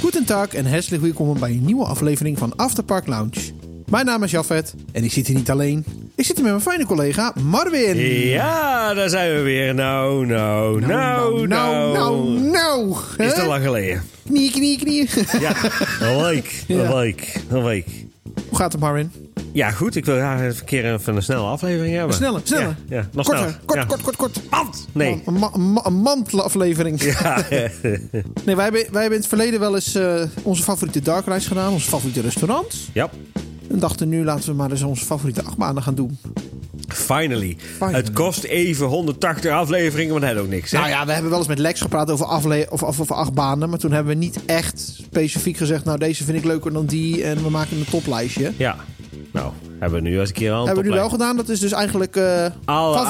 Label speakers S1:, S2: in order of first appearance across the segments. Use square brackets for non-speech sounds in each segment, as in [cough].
S1: Goedendag en herzlich welkom bij een nieuwe aflevering van Afterpark Lounge. Mijn naam is Jafet en ik zit hier niet alleen. Ik zit hier met mijn fijne collega Marvin.
S2: Ja, daar zijn we weer. Nou, nou, nou, nou.
S1: nou, nou, nou. hè?
S2: Is te lang geleden.
S1: Knie, knie, knie. [laughs]
S2: Ja, een week,
S1: Ja.
S2: een week, een week.
S1: Hoe gaat het Marvin?
S2: Ja, goed, ik wil graag even een keer even een snelle aflevering hebben.
S1: Sneller, sneller.
S2: Ja, ja, nog
S1: Korter,
S2: sneller.
S1: Kort,
S2: Nou, Ja.
S1: kort, kort, kort.
S2: Mand! Nee.
S1: Een, ma- een ma- een mantelaflevering.
S2: [laughs] Ja,
S1: Nee, wij hebben, wij hebben in het verleden wel eens eh, onze favoriete dark rides gedaan. Onze favoriete restaurants.
S2: ja.
S1: En dachten nu laten we maar eens onze favoriete achtbanen gaan doen.
S2: Finally. Het kost even 180 afleveringen, maar dat heeft ook niks. Hè?
S1: Nou ja, we hebben wel eens met Lex gepraat over, afle- of, of, over achtbanen. Maar toen hebben we niet echt specifiek gezegd... nou, deze vind ik leuker dan die en we maken een toplijstje.
S2: Ja. Nou, hebben we nu eens een keer aan
S1: Hebben we nu wel gedaan. Dat is dus eigenlijk eh, favoriete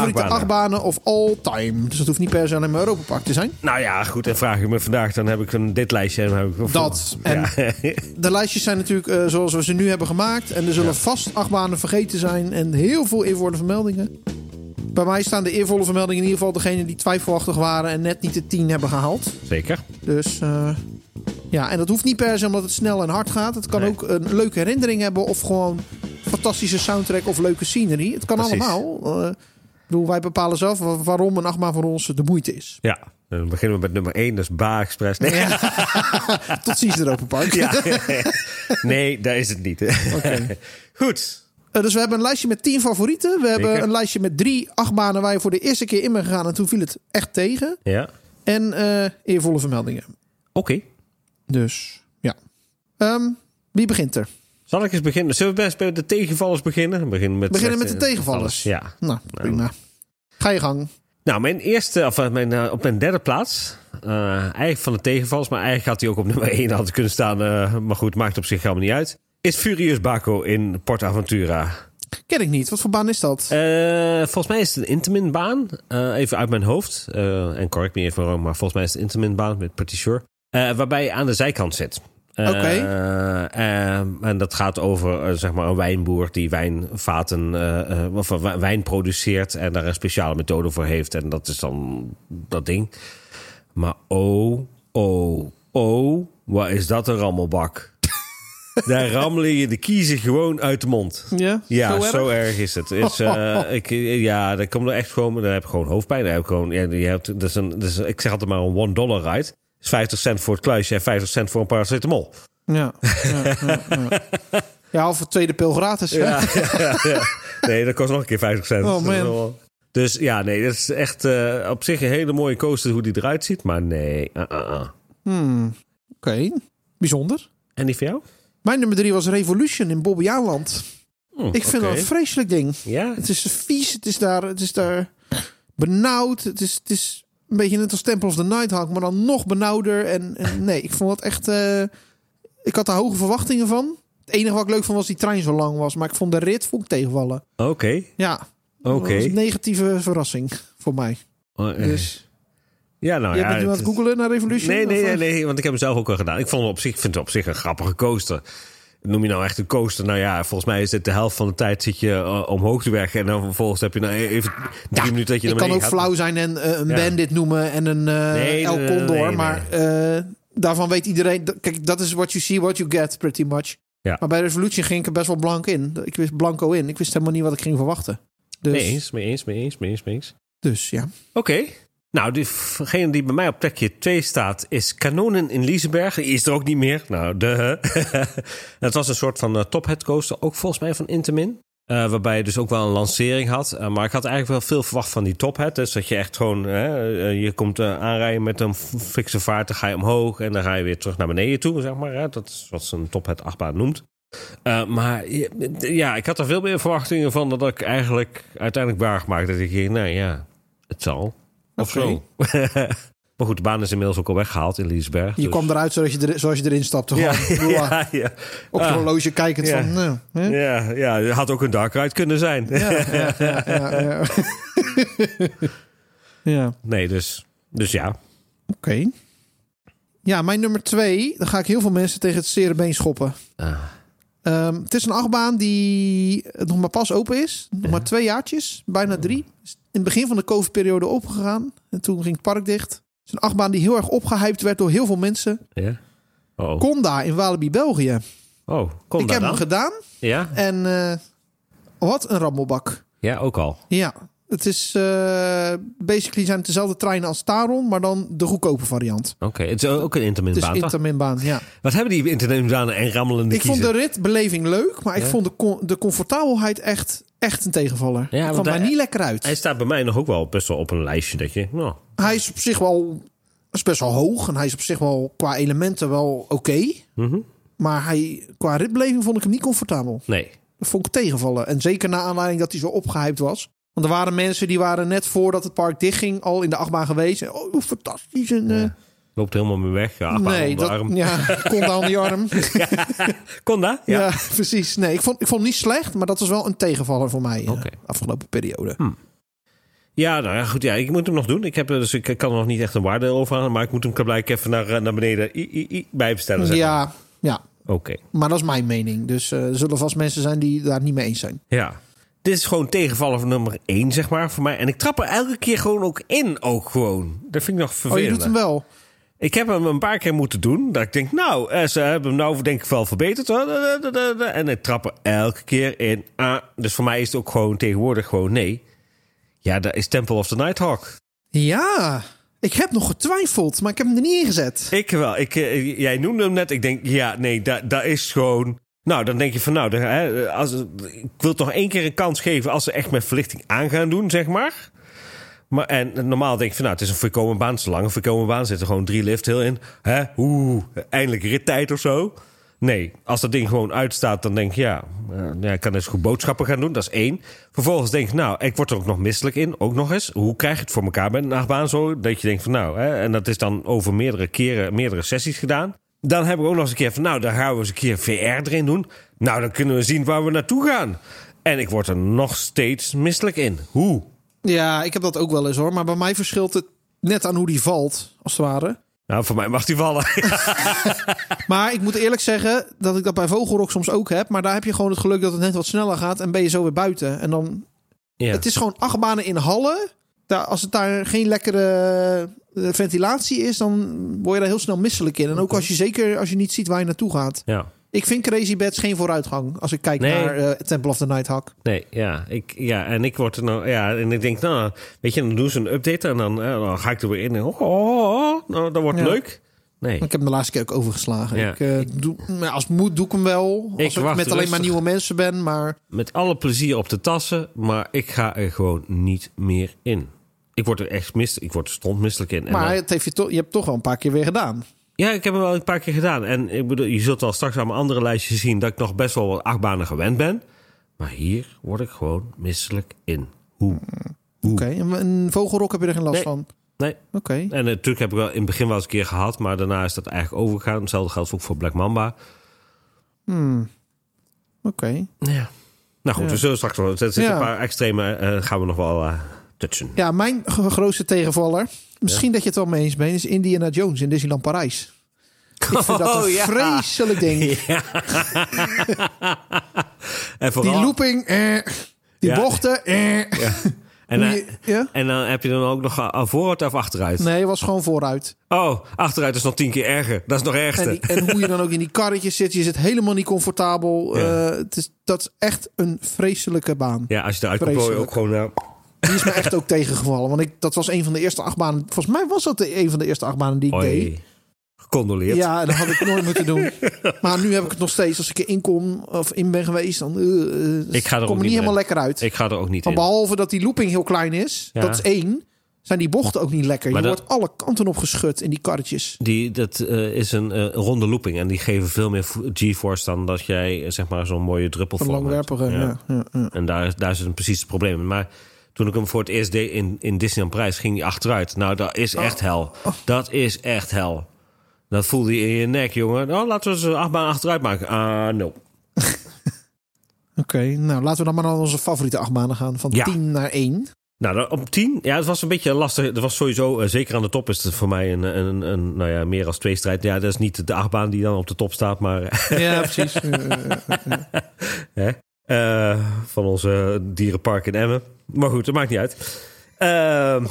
S2: achtbanen.
S1: achtbanen of all time. Dus dat hoeft niet per se alleen maar Europa Park te zijn.
S2: Nou ja, goed. En vraag je me vandaag, dan heb ik een, dit lijstje. en Dan heb ik, of-
S1: Dat. En
S2: Ja. [laughs]
S1: de lijstjes zijn natuurlijk eh, zoals we ze nu hebben gemaakt. En er zullen vast achtbanen vergeten zijn. En heel veel eervolle vermeldingen. Bij mij staan de eervolle vermeldingen in ieder geval degene die twijfelachtig waren. En net niet de 10 hebben gehaald.
S2: Zeker.
S1: Dus eh, ja, en dat hoeft niet per se omdat het snel en hard gaat. Het kan
S2: Nee.
S1: ook een leuke herinnering hebben. Of gewoon fantastische soundtrack of leuke scenery. Het kan
S2: Precies.
S1: allemaal. Eh, ik bedoel, wij bepalen zelf wa- waarom een achtbaan voor ons de moeite is.
S2: Ja. Dan beginnen we met nummer 1, dat is Ba Express. Nee.
S1: [laughs] Tot ziens Europa Park.
S2: Ja. [laughs] nee, daar is het niet. [laughs] Goed.
S1: [laughs] Eh, dus we hebben een lijstje met 10 favorieten. We hebben
S2: Zeker.
S1: een lijstje met drie achtbanen waar je voor de eerste keer in bent gegaan. En toen viel het echt tegen.
S2: Ja. Oké.
S1: En eh, eervolle vermeldingen. Dus ja. Ehm, wie begint er?
S2: Zal ik eens beginnen? Zullen we best bij de tegenvallers beginnen? We beginnen met,
S1: We beginnen met
S2: slechte-
S1: de tegenvallers.
S2: Ja.
S1: Nou, prima. Ga je gang.
S2: Nou, mijn eerste, of eh, mijn, eh, op mijn derde plaats. eh, eigenlijk van de tegenvallers, maar eigenlijk had hij ook op nummer 1 had kunnen staan. eh, maar goed, maakt op zich helemaal niet uit. Is Furious Baco in Port Aventura.
S1: Ken ik niet. Wat voor baan is dat?
S2: Eh, volgens mij is het een Intamin baan. Eh, even uit mijn hoofd. Eh, en correct me even waarom, maar volgens mij is het een Intamin baan met Pretty Eh waarbij je aan de zijkant zit. Eh,
S1: Oké.
S2: eh, en dat gaat over eh, zeg maar een wijnboer die wijnvaten eh, eh, of wa- wijn produceert en daar een speciale methode voor heeft. En dat is dan dat ding. Maar oh, oh, oh, wat is dat een
S1: [laughs]
S2: rammelbak? daar rammelen je de kiezen gewoon uit de mond.
S1: Ja, zo
S2: Ja, zo
S1: erg?
S2: erg, is het. Is, eh,
S1: [laughs]
S2: ik, ja, daar komt er echt gewoon, daar heb ik gewoon hoofdpijn. Daar heb ik gewoon, ja, je hebt, dat is een, dat is, ik zeg altijd maar een one dollar ride. Dat is 50 cent voor het kluisje en 50 cent voor een
S1: [laughs]
S2: paracetamol.
S1: Ja, ja, ja, ja. ja of een tweede pil gratis. hè?
S2: Ja, ja, ja. Nee, dat kost nog een keer 50 cent.
S1: Oh,
S2: Dat is
S1: man.
S2: wel- Dus ja, nee, dat is echt eh, op zich een hele mooie coaster hoe die eruit ziet. Maar nee, ah, ah, ah.
S1: Hmm. Oké, bijzonder.
S2: En die voor jou?
S1: Mijn nummer drie was Revolution in Bobbejaanland.
S2: Hm,
S1: Ik vind
S2: oké.
S1: dat een vreselijk ding.
S2: Ja,
S1: Het is vies, het is daar, het is daar benauwd. Het is, het is een beetje net als Temple of the Nighthawk, maar dan nog benauwder. En, en nee, ik vond het echt... eh, ik had daar hoge verwachtingen van. Het enige wat ik leuk vond was die trein zo lang was. Maar ik vond de rit vond ik tegenvallen.
S2: oké,
S1: Ja,
S2: oké.
S1: dat was een negatieve verrassing voor mij.
S2: Oh, eh.
S1: Dus
S2: Ja, nou
S1: je
S2: ja.
S1: bent nu aan
S2: het
S1: het
S2: is-
S1: googelen naar Revolution?
S2: Nee, nee,
S1: Of, eh,
S2: nee, nee, want ik heb hem zelf ook al gedaan. Ik vond hem op zich, vind het op zich een grappige coaster. Noem je nou echt een coaster? Nou ja, volgens mij is het de helft van de tijd zit je eh, omhoog te weg. En dan vervolgens heb je nou even drie minuten dat je
S1: Ik
S2: naar
S1: kan ook
S2: beneden gaat.
S1: flauw zijn en eh, een
S2: Ja.
S1: bandit noemen en een eh
S2: Nee,
S1: El
S2: nee,
S1: Condor.
S2: nee, nee.
S1: Maar eh, daarvan weet iedereen... dat- Kijk, dat is what you see, what you get, pretty much.
S2: Ja.
S1: Maar bij Revolution ging ik er best wel blank in. Ik wist blanco in. Ik wist helemaal niet wat ik ging verwachten. Dus,
S2: Mee eens, mee eens, mee eens, mee eens, mee eens.
S1: dus ja.
S2: Oké. Nou, degene die bij mij op plekje 2 staat is Kanonen in Liesenberg. Die is er ook niet meer. Nou, de. [laughs] Het was een soort van eh, tophead coaster, ook volgens mij van Intamin. Eh, waarbij je dus ook wel een lancering had. Eh, maar ik had eigenlijk wel veel verwacht van die tophead. Dus dat je echt gewoon, hè, eh, je komt eh, aanrijden met een f- fikse vaart. Dan ga je omhoog en dan ga je weer terug naar beneden toe, zeg maar. Hè. Dat is wat ze een tophead achtbaan noemt. Eh, maar je- eh, ja, ik had er veel meer verwachtingen van dan dat ik eigenlijk uiteindelijk waargemaakt. Dat ik hier, nou ja, het zal. Of
S1: Oké.
S2: zo. [laughs] maar goed, de baan is inmiddels ook al weggehaald in Liesberg.
S1: Je kwam eruit zoals je, er, zoals je erin stapte.
S2: Dus. [laughs] ja,
S1: Gewoon, ja.
S2: [laughs] ja, ja.
S1: Op het
S2: Ah.
S1: horloge kijkend
S2: Ja.
S1: van... Nou, hè?
S2: Ja, ja, het had ook een dark ride kunnen zijn.
S1: ja, ja, ja. ja.
S2: [laughs] Nee, dus, dus ja.
S1: Oké. Ja, mijn nummer twee. Dan ga ik heel veel mensen tegen het zere been schoppen.
S2: Ah.
S1: Ehm, het is een achtbaan die nog maar pas open is. Nog maar twee jaartjes. Bijna drie. Is In het begin van de COVID-periode opengegaan. En toen ging het park dicht. Het is een achtbaan die heel erg opgehyped werd door heel veel mensen.
S2: Ja. Oh,
S1: Conda in Walibi, België.
S2: oh kom
S1: ik
S2: daar
S1: heb
S2: dan.
S1: hem gedaan
S2: ja?
S1: en eh, wat een rammelbak.
S2: ja, ook al.
S1: Ja, het is eh, basically zijn het dezelfde treinen als Taron, maar dan de goedkope variant.
S2: Oké, het is ook een
S1: Het is
S2: interminbaan. toch?
S1: interminbaan, ja.
S2: Wat hebben die interminbanen en rammelende
S1: Ik vond
S2: kiezen?
S1: de ritbeleving leuk, maar ik
S2: Ja.
S1: vond de, con- de comfortabelheid echt, echt een tegenvaller.
S2: Ja,
S1: Ja, kwam
S2: want
S1: mij
S2: hij-
S1: niet lekker uit. Hij
S2: Hij
S1: is,
S2: staat bij mij nog ook wel best wel op een lijstje, dat je. Nou,
S1: op zich wel is best wel hoog en hij is op zich wel qua elementen wel oké.
S2: mhm.
S1: Maar hij, qua ritbeleving vond ik hem niet comfortabel.
S2: nee.
S1: Dat vond ik tegenvallen. En zeker na aanleiding dat hij zo opgehyped was. Want er waren mensen die waren net voordat het park dichtging al in de achtbaan geweest. En, oh, fantastisch. En, eh,
S2: Loopt helemaal mee weg. Ja,
S1: nee,
S2: nee,
S1: dat,
S2: arm.
S1: ja, [laughs] kon daar aan die
S2: [laughs]
S1: arm.
S2: Conda? Ja.
S1: Ja, [laughs] precies. Nee, ik vond, ik vond het niet slecht, maar dat was wel een tegenvaller voor mij eh,
S2: Oké.
S1: afgelopen periode.
S2: Ja, nou ja, goed. Ja, ik moet hem nog doen. Ik, heb, eh, dus ik kan er nog niet echt een waardeel over aan. Maar ik moet hem blijkbaar even naar, eh, naar beneden i, i, i, bijbestellen. zeg maar.
S1: Ja, ja,
S2: Oké.
S1: maar dat is mijn mening. Dus eh, er zullen vast mensen zijn die daar niet mee eens zijn. Oh,
S2: Ja. Dit is gewoon tegenvallen van nummer 1, zeg maar, voor mij. En ik trap er elke keer gewoon ook in, ook gewoon. Dat vind ik nog
S1: Oh, je
S2: vervelend.
S1: doet hem wel.
S2: Ik heb hem een paar keer moeten doen. Dat ik denk, nou, eh, ze hebben hem nou denk ik wel verbeterd. hoor. Da, da, da, da. En ik trap er elke keer in. Ah, dus voor mij is het ook gewoon tegenwoordig gewoon nee. Ja, dat is Temple of the Nighthawk.
S1: Ja, ik heb nog getwijfeld, maar ik heb hem er niet in gezet.
S2: Ik wel. Ik, eh, jij noemde hem net. Ik denk, ja, nee, dat dat is gewoon... Nou, dan denk je van, nou, dan, hè, als, ik wil toch één keer een kans geven... als ze echt met verlichting aan gaan doen, zeg maar. maar en normaal denk je van, nou, het is een voorkomen baan. Het is een lange voorkomen baan. Er zitten gewoon drie lift heel in. Hè? Oeh, eindelijk rittijd of zo. Nee, als dat ding gewoon uitstaat, dan denk je, ja, eh, ja ik kan eens goed boodschappen gaan doen. Dat is één. Vervolgens denk je, nou, ik word er ook nog misselijk in. Ook nog eens. Hoe krijg je het voor elkaar bij een achtbaan zo? Dat je denkt van, nou, hè, en dat is dan over meerdere keren, meerdere sessies gedaan. Dan heb ik ook nog eens een keer van, nou, daar gaan we eens een keer VR erin doen. Nou, dan kunnen we zien waar we naartoe gaan. En ik word er nog steeds misselijk in. Hoe?
S1: Ja, ik heb dat ook wel eens hoor. Maar bij mij verschilt het net aan hoe die valt, als het ware.
S2: Nou, voor mij mag die vallen.
S1: Maar ik moet eerlijk zeggen dat ik dat bij Vogelrok soms ook heb. Maar daar heb je gewoon het geluk dat het net wat sneller gaat en ben je zo weer buiten. En dan,
S2: ja.
S1: het is gewoon acht banen in hallen. Daar, als het daar geen lekkere eh, ventilatie is, dan word je daar heel snel misselijk in. En ook als je zeker als je niet ziet waar je naartoe gaat.
S2: ja.
S1: Ik vind Crazy Beds geen vooruitgang als ik kijk
S2: Nee.
S1: naar eh, Temple of the Nighthawk.
S2: Nee, ja, ik, ja, en ik word er nou, ja, en ik denk, nou, weet je, dan doen ze een update en dan, eh, dan ga ik er weer in. En, oh, oh, oh, nou, dat wordt
S1: Ja.
S2: leuk. Nee,
S1: Ik heb hem de laatste keer ook overgeslagen.
S2: Ja.
S1: Ik, eh, doe, nou, als het moet, doe ik hem wel.
S2: Ik
S1: als ik
S2: wacht
S1: met alleen maar
S2: rustig.
S1: nieuwe mensen ben. Maar
S2: met alle plezier op de tassen, maar ik ga er gewoon niet meer in. Ik word er echt mis, ik word er strontmisselijk in. En
S1: Maar
S2: dan-
S1: het heeft je, toch, je hebt toch wel een paar keer weer gedaan.
S2: ja, ik heb hem wel een paar keer gedaan. En ik bedoel, je zult wel straks aan mijn andere lijstje zien dat ik nog best wel wat achtbanen gewend ben. Maar hier word ik gewoon misselijk in. Hoe?
S1: Oké, en een vogelrok heb je er geen last
S2: Nee.
S1: van?
S2: Nee,
S1: Oké.
S2: En eh, natuurlijk heb ik wel in het begin wel eens een keer gehad, maar daarna is dat eigenlijk overgegaan. Hetzelfde geldt ook voor Black Mamba.
S1: Oké.
S2: Ja. Nou goed, we zullen straks wel. Er zitten
S1: Ja.
S2: een paar extreme, eh, gaan we nog wel eh, touchen.
S1: Ja, mijn g- grootste tegenvaller, misschien dat je het wel mee eens bent, is Indiana Jones in Disneyland Parijs. Ik vind dat een
S2: Oh, ja.
S1: vreselijk
S2: [laughs]
S1: ding.
S2: En
S1: Die
S2: vooral,
S1: looping, eh, die
S2: Ja.
S1: bochten. eh.
S2: en,
S1: hoe
S2: eh,
S1: je- ja?
S2: en dan heb je dan ook nog eh, vooruit of achteruit.
S1: Nee, was gewoon vooruit.
S2: Oh, achteruit is nog tien keer erger. Dat is nog
S1: En,
S2: erger.
S1: die- en hoe je dan ook in die karretjes zit, je zit helemaal niet comfortabel.
S2: Ja.
S1: Eh, het is, dat is echt een vreselijke baan.
S2: Ja, als je eruit komt, hoor je ook gewoon. eh,
S1: Die is me echt ook tegengevallen. Want ik, dat was een van de eerste acht banen. Volgens mij was dat de, een van de eerste acht banen die ik deed.
S2: hoi, gecondoleerd.
S1: Ja, dat had ik nooit moeten doen. Maar nu heb ik het nog steeds. Als ik erin kom of in ben geweest, dan eh, eh,
S2: Ik ga er
S1: kom
S2: ook niet
S1: er niet helemaal
S2: in.
S1: lekker uit.
S2: Ik ga er ook niet
S1: Want
S2: in.
S1: behalve dat die looping heel klein is,
S2: Ja.
S1: dat is één, zijn die bochten ook niet lekker.
S2: Maar
S1: je
S2: dat-
S1: wordt alle kanten op geschud in die karretjes.
S2: Die, dat eh, is een eh, ronde looping en die geven veel meer vo- G-force dan dat jij eh, zeg maar zo'n mooie druppel
S1: Van langwerpige. Ja. Ja, ja.
S2: En daar, is- daar zit een precies het probleem. in. Maar toen ik hem voor het eerst deed in, in Disneyland Parijs, ging hij achteruit. Nou, dat
S1: Oh.
S2: is echt hel. Dat is echt hel. Dat voelde je in je nek, jongen. Nou, laten we ze achtbaan achteruit maken. Ah, no.
S1: Oké, nou laten we dan maar naar onze favoriete achtbanen gaan. Van
S2: Ja.
S1: 10 naar 1.
S2: Nou, dan op 10. Ja, het was een beetje lastig. Het was sowieso, eh, zeker aan de top, is het voor mij een, een, een nou ja, meer als twee strijd. Ja, dat is niet de achtbaan die dan op de top staat, maar
S1: [laughs] Ja, precies. eh.
S2: Eh, hè, eh, van onze dierenpark in Emmen. Maar goed, dat maakt niet uit. Ehm,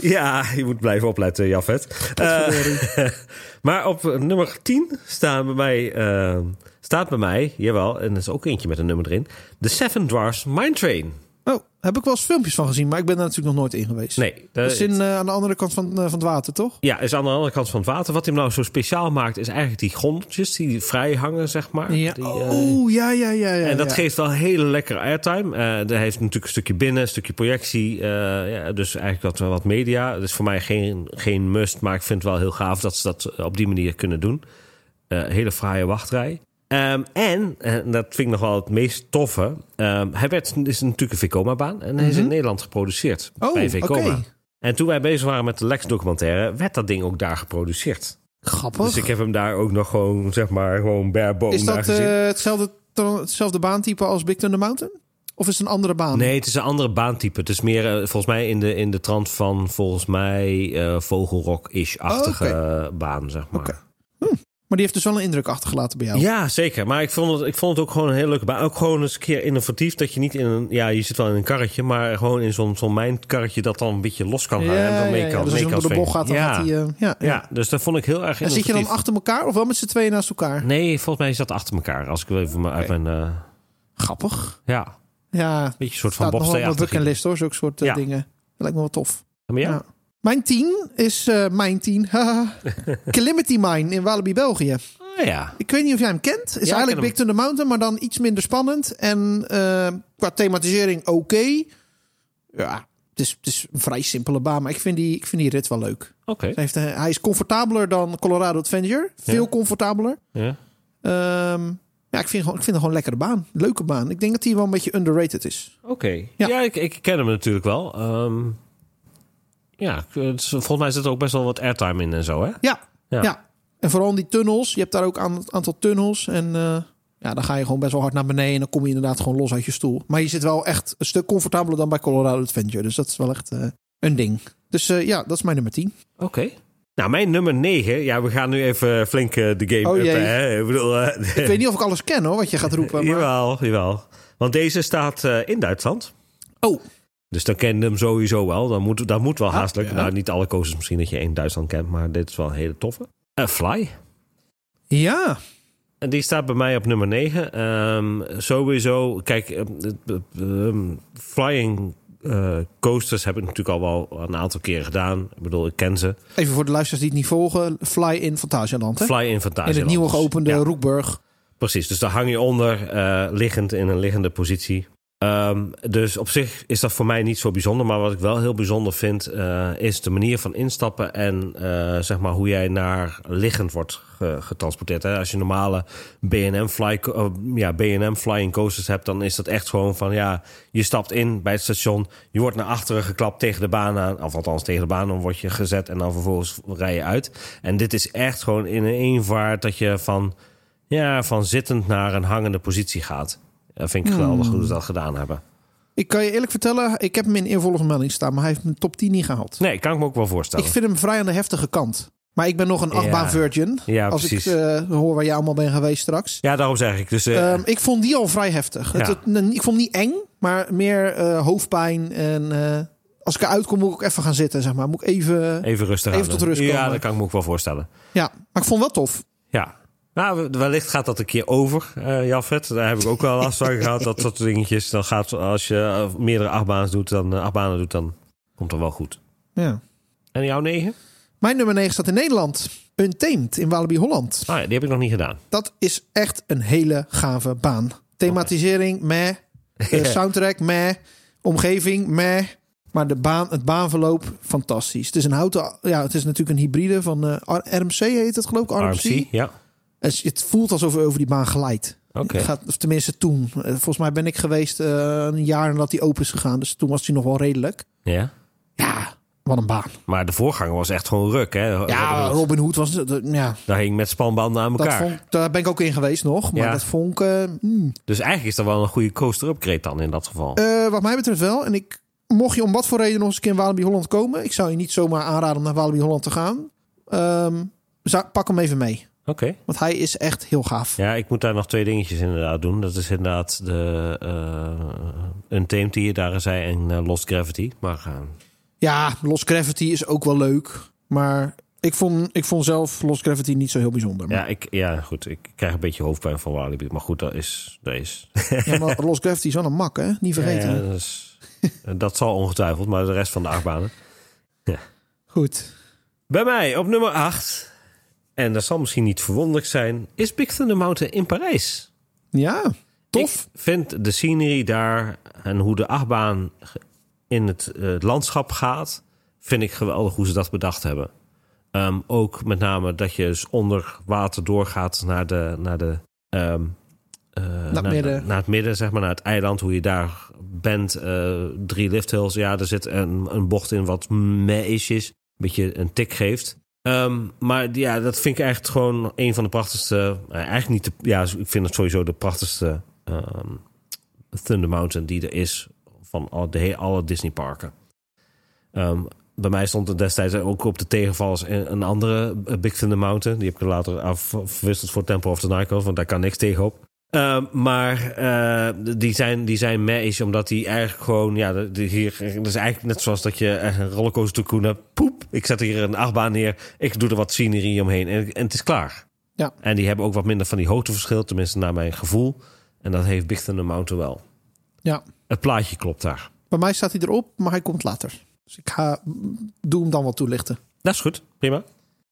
S2: ja, je moet blijven opletten, Jafet. Eh, [laughs] maar op nummer 10 staan bij mij, eh, staat bij mij, jawel, en er is ook eentje met een nummer erin: The Seven Dwarfs Mine Train.
S1: Oh, heb ik wel eens filmpjes van gezien, maar ik ben daar natuurlijk nog nooit in geweest.
S2: Nee,
S1: Dat
S2: eh,
S1: is in, eh, aan de andere kant van, eh, van het water, toch?
S2: ja, is aan de andere kant van het water. Wat hem nou zo speciaal maakt, is eigenlijk die gondeltjes die vrij hangen, zeg maar.
S1: Ja.
S2: Die, eh,
S1: Oh, ja, ja, ja. ja
S2: en dat
S1: ja.
S2: geeft wel hele lekkere airtime. Eh daar heeft natuurlijk een stukje binnen, een stukje projectie. eh, ja, dus eigenlijk wat, wat media. Dat is voor mij geen, geen must, maar ik vind het wel heel gaaf dat ze dat eh, op die manier kunnen doen. Eh, hele fraaie wachtrij. Ehm, en, en dat vind ik nog wel het meest toffe. ehm, hij werd, is natuurlijk een Vekoma-baan en hij is in Nederland geproduceerd
S1: Mhm. Oh,
S2: bij Vekoma.
S1: oké.
S2: En toen wij bezig waren met de Lex-documentaire, werd dat ding ook daar geproduceerd.
S1: Grappig.
S2: Dus ik heb hem daar ook nog gewoon, zeg maar, gewoon bare bone
S1: is
S2: daar
S1: dat
S2: gezien.
S1: eh, hetzelfde, hetzelfde baantype als Big Thunder Mountain? Of is het een andere baan?
S2: Nee, het is een andere baantype. Het is meer eh, volgens mij in de, in de trant van volgens mij eh, vogelrok-ish-achtige eh, baan, zeg maar.
S1: Oh,
S2: Oh.
S1: Oké. Maar die heeft dus wel een indruk achtergelaten bij jou.
S2: Ja, zeker. Maar ik vond, het, ik vond het ook gewoon een heel leuke baan. Ook gewoon eens een keer innovatief. Dat je niet in een... Ja, je zit wel in een karretje, maar gewoon in zo'n zo'n mijnkarretje dat dan een beetje los kan gaan. en dan mee kan,
S1: Dus als
S2: mee
S1: je hem
S2: kan
S1: door de bocht
S2: swingen.
S1: gaat, dan
S2: ja.
S1: gaat hij... eh, ja, ja.
S2: ja, dus dat vond ik heel erg
S1: En zit je dan
S2: innovatief.
S1: achter elkaar of wel met z'n tweeën naast elkaar?
S2: Nee, volgens mij is dat achter elkaar. Als ik even maar uit mijn... eh,
S1: Grappig.
S2: ja,
S1: Ja,
S2: beetje een soort van
S1: staat nog wel op de
S2: bobslee-achtig. iets.
S1: bucketlist hoor, zulke soort eh,
S2: Ja.
S1: dingen. Dat lijkt me wel tof.
S2: Maar ja,
S1: Ja. Mijn tien is eh, mijn tien. [laughs] Haha. Calamity Mine in Walibi, België.
S2: Ah, ja.
S1: Ik weet niet of jij hem kent. Is
S2: ken
S1: eigenlijk
S2: hem.
S1: Big Thunder Mountain, maar dan iets minder spannend. En eh, qua thematisering oké. Ja, het is, het is een vrij simpele baan, maar ik vind die, ik vind die rit wel leuk.
S2: Oké.
S1: Hij, heeft, eh, hij is comfortabeler dan Colorado Adventure. Veel comfortabeler.
S2: Ja.
S1: Ehm, ja, ik vind, gewoon, ik vind het gewoon een lekkere baan. Leuke baan. Ik denk dat hij wel een beetje underrated is.
S2: Oké.
S1: Ja.
S2: Ja, ik, ik ken hem natuurlijk wel. Ehm, ja, ik- het is- volgens mij zit er ook best wel wat airtime in en zo, hè?
S1: Ja. ja.
S2: Ja.
S1: En vooral in die tunnels. Je hebt daar ook een aantal tunnels. En eh, ja, dan ga je gewoon best wel hard naar beneden. En dan kom je inderdaad gewoon los uit je stoel. Maar je zit wel echt een stuk comfortabeler dan bij Colorado Adventure. Dus dat is wel echt eh, een ding. Dus eh, ja, dat is mijn nummer 10.
S2: Oké. Nou, mijn nummer 9. Ja, we gaan nu even flink eh, de game
S1: Oh,
S2: uppen,
S1: jee.
S2: hè? Ik bedoel... eh,
S1: Ik weet niet of ik alles ken hoor, wat je gaat roepen. Maar...
S2: [laughs] jawel, jawel. Want deze staat eh, in Duitsland.
S1: Oh,
S2: Dus dan ken je hem sowieso wel. Dan moet, dat moet wel haast lukken.
S1: Ah, ja.
S2: Nou, niet alle coaches misschien dat je één Duitsland kent. Maar dit is wel een hele toffe. Eh, Fly.
S1: ja.
S2: En die staat bij mij op nummer 9. Ehm, sowieso, kijk, ehm, eh, ehm, flying eh, coasters heb ik natuurlijk al wel een aantal keren gedaan. Ik bedoel, ik ken ze.
S1: Even voor de luisteraars die het niet volgen. Fly in Fantasialand. Hè?
S2: Fly in Fantasia.
S1: in het nieuwe geopende Roekburg.
S2: precies, dus daar hang je onder, eh, liggend in een liggende positie. Ehm, dus op zich is dat voor mij niet zo bijzonder. Maar wat ik wel heel bijzonder vind, eh, is de manier van instappen en eh, zeg maar hoe jij naar liggend wordt ge- getransporteerd. Hè? Als je normale BNM, fly, eh, ja, BNM flying coasters hebt, dan is dat echt gewoon van ja, je stapt in bij het station, je wordt naar achteren geklapt tegen de baan aan, of althans tegen de baan, dan word je gezet en dan vervolgens rij je uit. En dit is echt gewoon in een eenvaart dat je van, ja, van zittend naar een hangende positie gaat. Dat vind ik geweldig hoe ze dat gedaan hebben.
S1: Ik kan je eerlijk vertellen, ik heb hem in eervolle melding staan. Maar hij heeft mijn top 10 niet gehaald.
S2: Nee, kan ik me ook wel voorstellen.
S1: Ik vind hem vrij aan de heftige kant. Maar ik ben nog een
S2: Ja.
S1: achtbaan virgin.
S2: Ja,
S1: als ik
S2: precies.
S1: eh, hoor waar jij allemaal bent geweest straks.
S2: Ja, daarom zeg ik. Dus, eh,
S1: Ehm, ik vond die al vrij heftig.
S2: Ja.
S1: Het- het- nee, ik vond hem niet eng, maar meer eh, hoofdpijn. En eh, als ik eruit kom, moet ik ook even gaan zitten. Zeg maar. Moet ik even...
S2: even rustig
S1: even
S2: aan doen.
S1: tot rust
S2: Ja,
S1: komen.
S2: dat kan ik me ook wel voorstellen.
S1: Ja, maar ik vond hem wel tof.
S2: Ja. Nou, wellicht gaat dat een keer over, eh Jafet. Daar heb ik ook wel last van gehad. Dat soort dingetjes. Dan gaat, als je eh, meerdere achtbaans doet, dan, eh, achtbanen doet, dan komt dat wel goed.
S1: Ja.
S2: En jouw negen?
S1: Mijn nummer 9 staat in Nederland. Untamed in Walibi Holland.
S2: Ah ja, die heb ik nog niet gedaan.
S1: Dat is echt een hele gave baan. Thematisering,
S2: [laughs]
S1: meh. Eh, soundtrack, meh. Omgeving, meh. Maar de baan, het baanverloop, fantastisch. Het is een houten... Ja, het is natuurlijk een hybride van eh, R- RMC heet het geloof ik. RMC.
S2: RMC? Ja.
S1: Het, het voelt alsof we over die baan glijdt.
S2: Oké.
S1: Het gaat- Of tenminste toen. Eh, Volgens mij ben ik geweest eh, een jaar nadat die open is gegaan. Dus toen was die nog wel redelijk.
S2: Ja.
S1: Ja, wat een baan.
S2: Maar de voorganger was echt gewoon ruk, hè?
S1: Ja,
S2: Robin Hood.
S1: Robin Hood was... eh, Ja,
S2: Daar hing met spanbanden aan
S1: dat
S2: elkaar.
S1: vond, daar ben ik ook in geweest nog. Maar
S2: Ja.
S1: dat vond ik... eh, hmm.
S2: Dus eigenlijk is dat wel een goede coaster-upgrade dan in dat geval.
S1: Eh, wat mij betreft wel. En ik, mocht je om wat voor reden nog eens een keer in Walibi Holland komen... ik zou je niet zomaar aanraden om naar Walibi Holland te gaan. Ehm, zou- pak hem even mee.
S2: Oké.
S1: Want hij is echt heel gaaf.
S2: Ja, ik moet daar nog twee dingetjes inderdaad doen. Dat is inderdaad de, eh Untamed die je daar zei en eh, Lost Gravity. Maar eh,
S1: Ja, Lost Gravity is ook wel leuk. Maar ik vond, ik vond zelf Lost Gravity niet zo heel bijzonder. Maar,
S2: Ja, ik, ja, goed. Ik krijg een beetje hoofdpijn van Walibi. Maar goed, dat is... Dat, is,
S1: ja, maar
S2: [laughs]
S1: Lost Gravity is wel een mak, hè? Niet vergeten.
S2: Ja, dat, is- [laughs] dat zal ongetwijfeld, maar de rest van de achtbanen.
S1: Goed.
S2: Bij mij op nummer 8, en dat zal misschien niet verwonderlijk zijn, is Big Thunder Mountain in Parijs.
S1: Ja, tof.
S2: Ik vind de scenerie daar en hoe de achtbaan ge- in het eh, landschap gaat, vind ik geweldig hoe ze dat bedacht hebben. Ehm, ook met name dat je dus onder water doorgaat naar de. Naar de ehm, eh, naar,
S1: midden.
S2: naar het midden, zeg maar, naar het eiland, hoe je daar bent. eh, drie lifthills, ja, er zit een, een bocht in wat meh-ish is. Een beetje een tik geeft. Ehm, maar ja, dat vind ik eigenlijk gewoon een van de prachtigste. eh, eigenlijk niet de. Ja, ik vind het sowieso de prachtigste ehm, Thunder Mountain die er is van al, de, he- alle Disney parken. Ehm, bij mij stond er destijds ook op de tegenvallers een, een andere eh, Big Thunder Mountain. Die heb ik later af, verwisseld voor Temple of the Nightclone, want daar kan niks tegen op. Ehm, maar eh, die zijn, die zijn meh, omdat die eigenlijk gewoon... Ja, de- de- hier, dat is eigenlijk net zoals dat je eh, een rollercoaster koen hebt. Poep, ik zet hier een achtbaan neer. Ik doe er wat scenerie omheen en, en het is klaar.
S1: Ja.
S2: En die hebben ook wat minder van die hoogteverschil. Tenminste, naar mijn gevoel. En dat heeft Big Thunder Mountain wel.
S1: Ja.
S2: Het plaatje klopt daar.
S1: Bij mij staat hij erop, maar hij komt later. Dus ik ga, doe hem dan wat toelichten.
S2: Dat is goed, prima.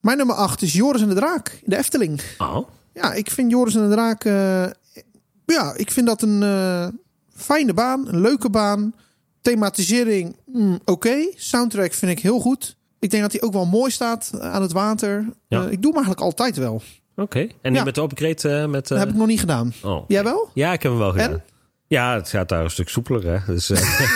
S1: Mijn nummer 8 is Joris en de Draak, in de Efteling.
S2: Oh,
S1: Ja, ik vind Joris en de Draak... eh, ja, ik vind dat een eh, fijne baan, een leuke baan. Thematisering, mm, oké. Soundtrack vind ik heel goed. Ik denk dat hij ook wel mooi staat eh, aan het water.
S2: Ja.
S1: Eh, ik doe hem eigenlijk altijd wel.
S2: oké. En die
S1: Ja.
S2: met de upgrade eh, met... eh,
S1: Dat heb ik nog niet gedaan.
S2: oh.
S1: Jij wel?
S2: Ja, ik heb hem wel gedaan.
S1: En?
S2: Ja, het gaat daar een stuk soepeler, hè.
S1: [laughs]
S2: Dus, eh,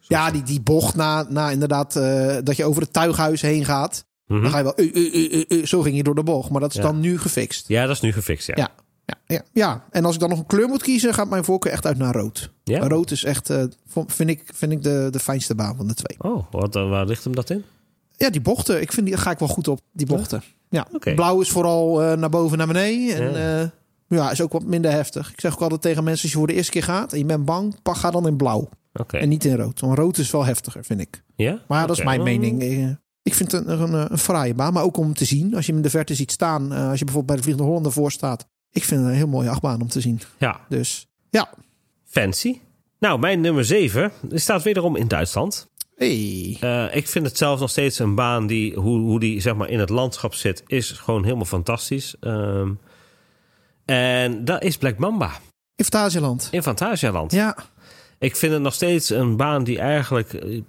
S1: Ja, die, die bocht na, na inderdaad eh, dat je over het tuighuis heen gaat.
S2: mhm.
S1: Dan ga je wel... eh, eh, eh, eh, eh, zo ging je door de bocht. Maar dat is
S2: Ja.
S1: dan nu gefixt.
S2: Ja, dat is nu gefixt, ja.
S1: Ja. Ja, ja, ja, en als ik dan nog een kleur moet kiezen, gaat mijn voorkeur echt uit naar rood.
S2: Ja?
S1: Rood is echt, eh, vo- vind ik, vind ik de, de fijnste baan van de twee.
S2: Oh, wat, eh, waar ligt hem dat in?
S1: Ja, die bochten, ik vind die, daar ga ik wel goed op, die bochten. Ja,
S2: Oké.
S1: blauw is vooral eh, naar boven, naar beneden. En
S2: Ja.
S1: ja. ja, is ook wat minder heftig. Ik zeg ook altijd tegen mensen, als je voor de eerste keer gaat en je bent bang, pa, ga dan in blauw.
S2: Oké.
S1: En niet in rood, want rood is wel heftiger, vind ik.
S2: Ja?
S1: Maar ja, dat
S2: Oké.
S1: is mijn mening. Ik, eh, Ik vind het een, een, eh, een fraaie baan, maar ook om te zien. Als je hem in de verte ziet staan, eh, als je bijvoorbeeld bij de Vliegende Hollander voor staat. Ik vind het een heel mooie achtbaan om te zien.
S2: Ja,
S1: Dus ja,
S2: fancy. Nou, mijn nummer 7 staat wederom in Duitsland.
S1: Hey.
S2: Eh, ik vind het zelf nog steeds een baan die, hoe, hoe die zeg maar in het landschap zit, is gewoon helemaal fantastisch. Ehm, en dat is Black Mamba
S1: In Fantasieland.
S2: in Fantasialand.
S1: Ja,
S2: Ik vind het nog steeds een baan die eigenlijk eh,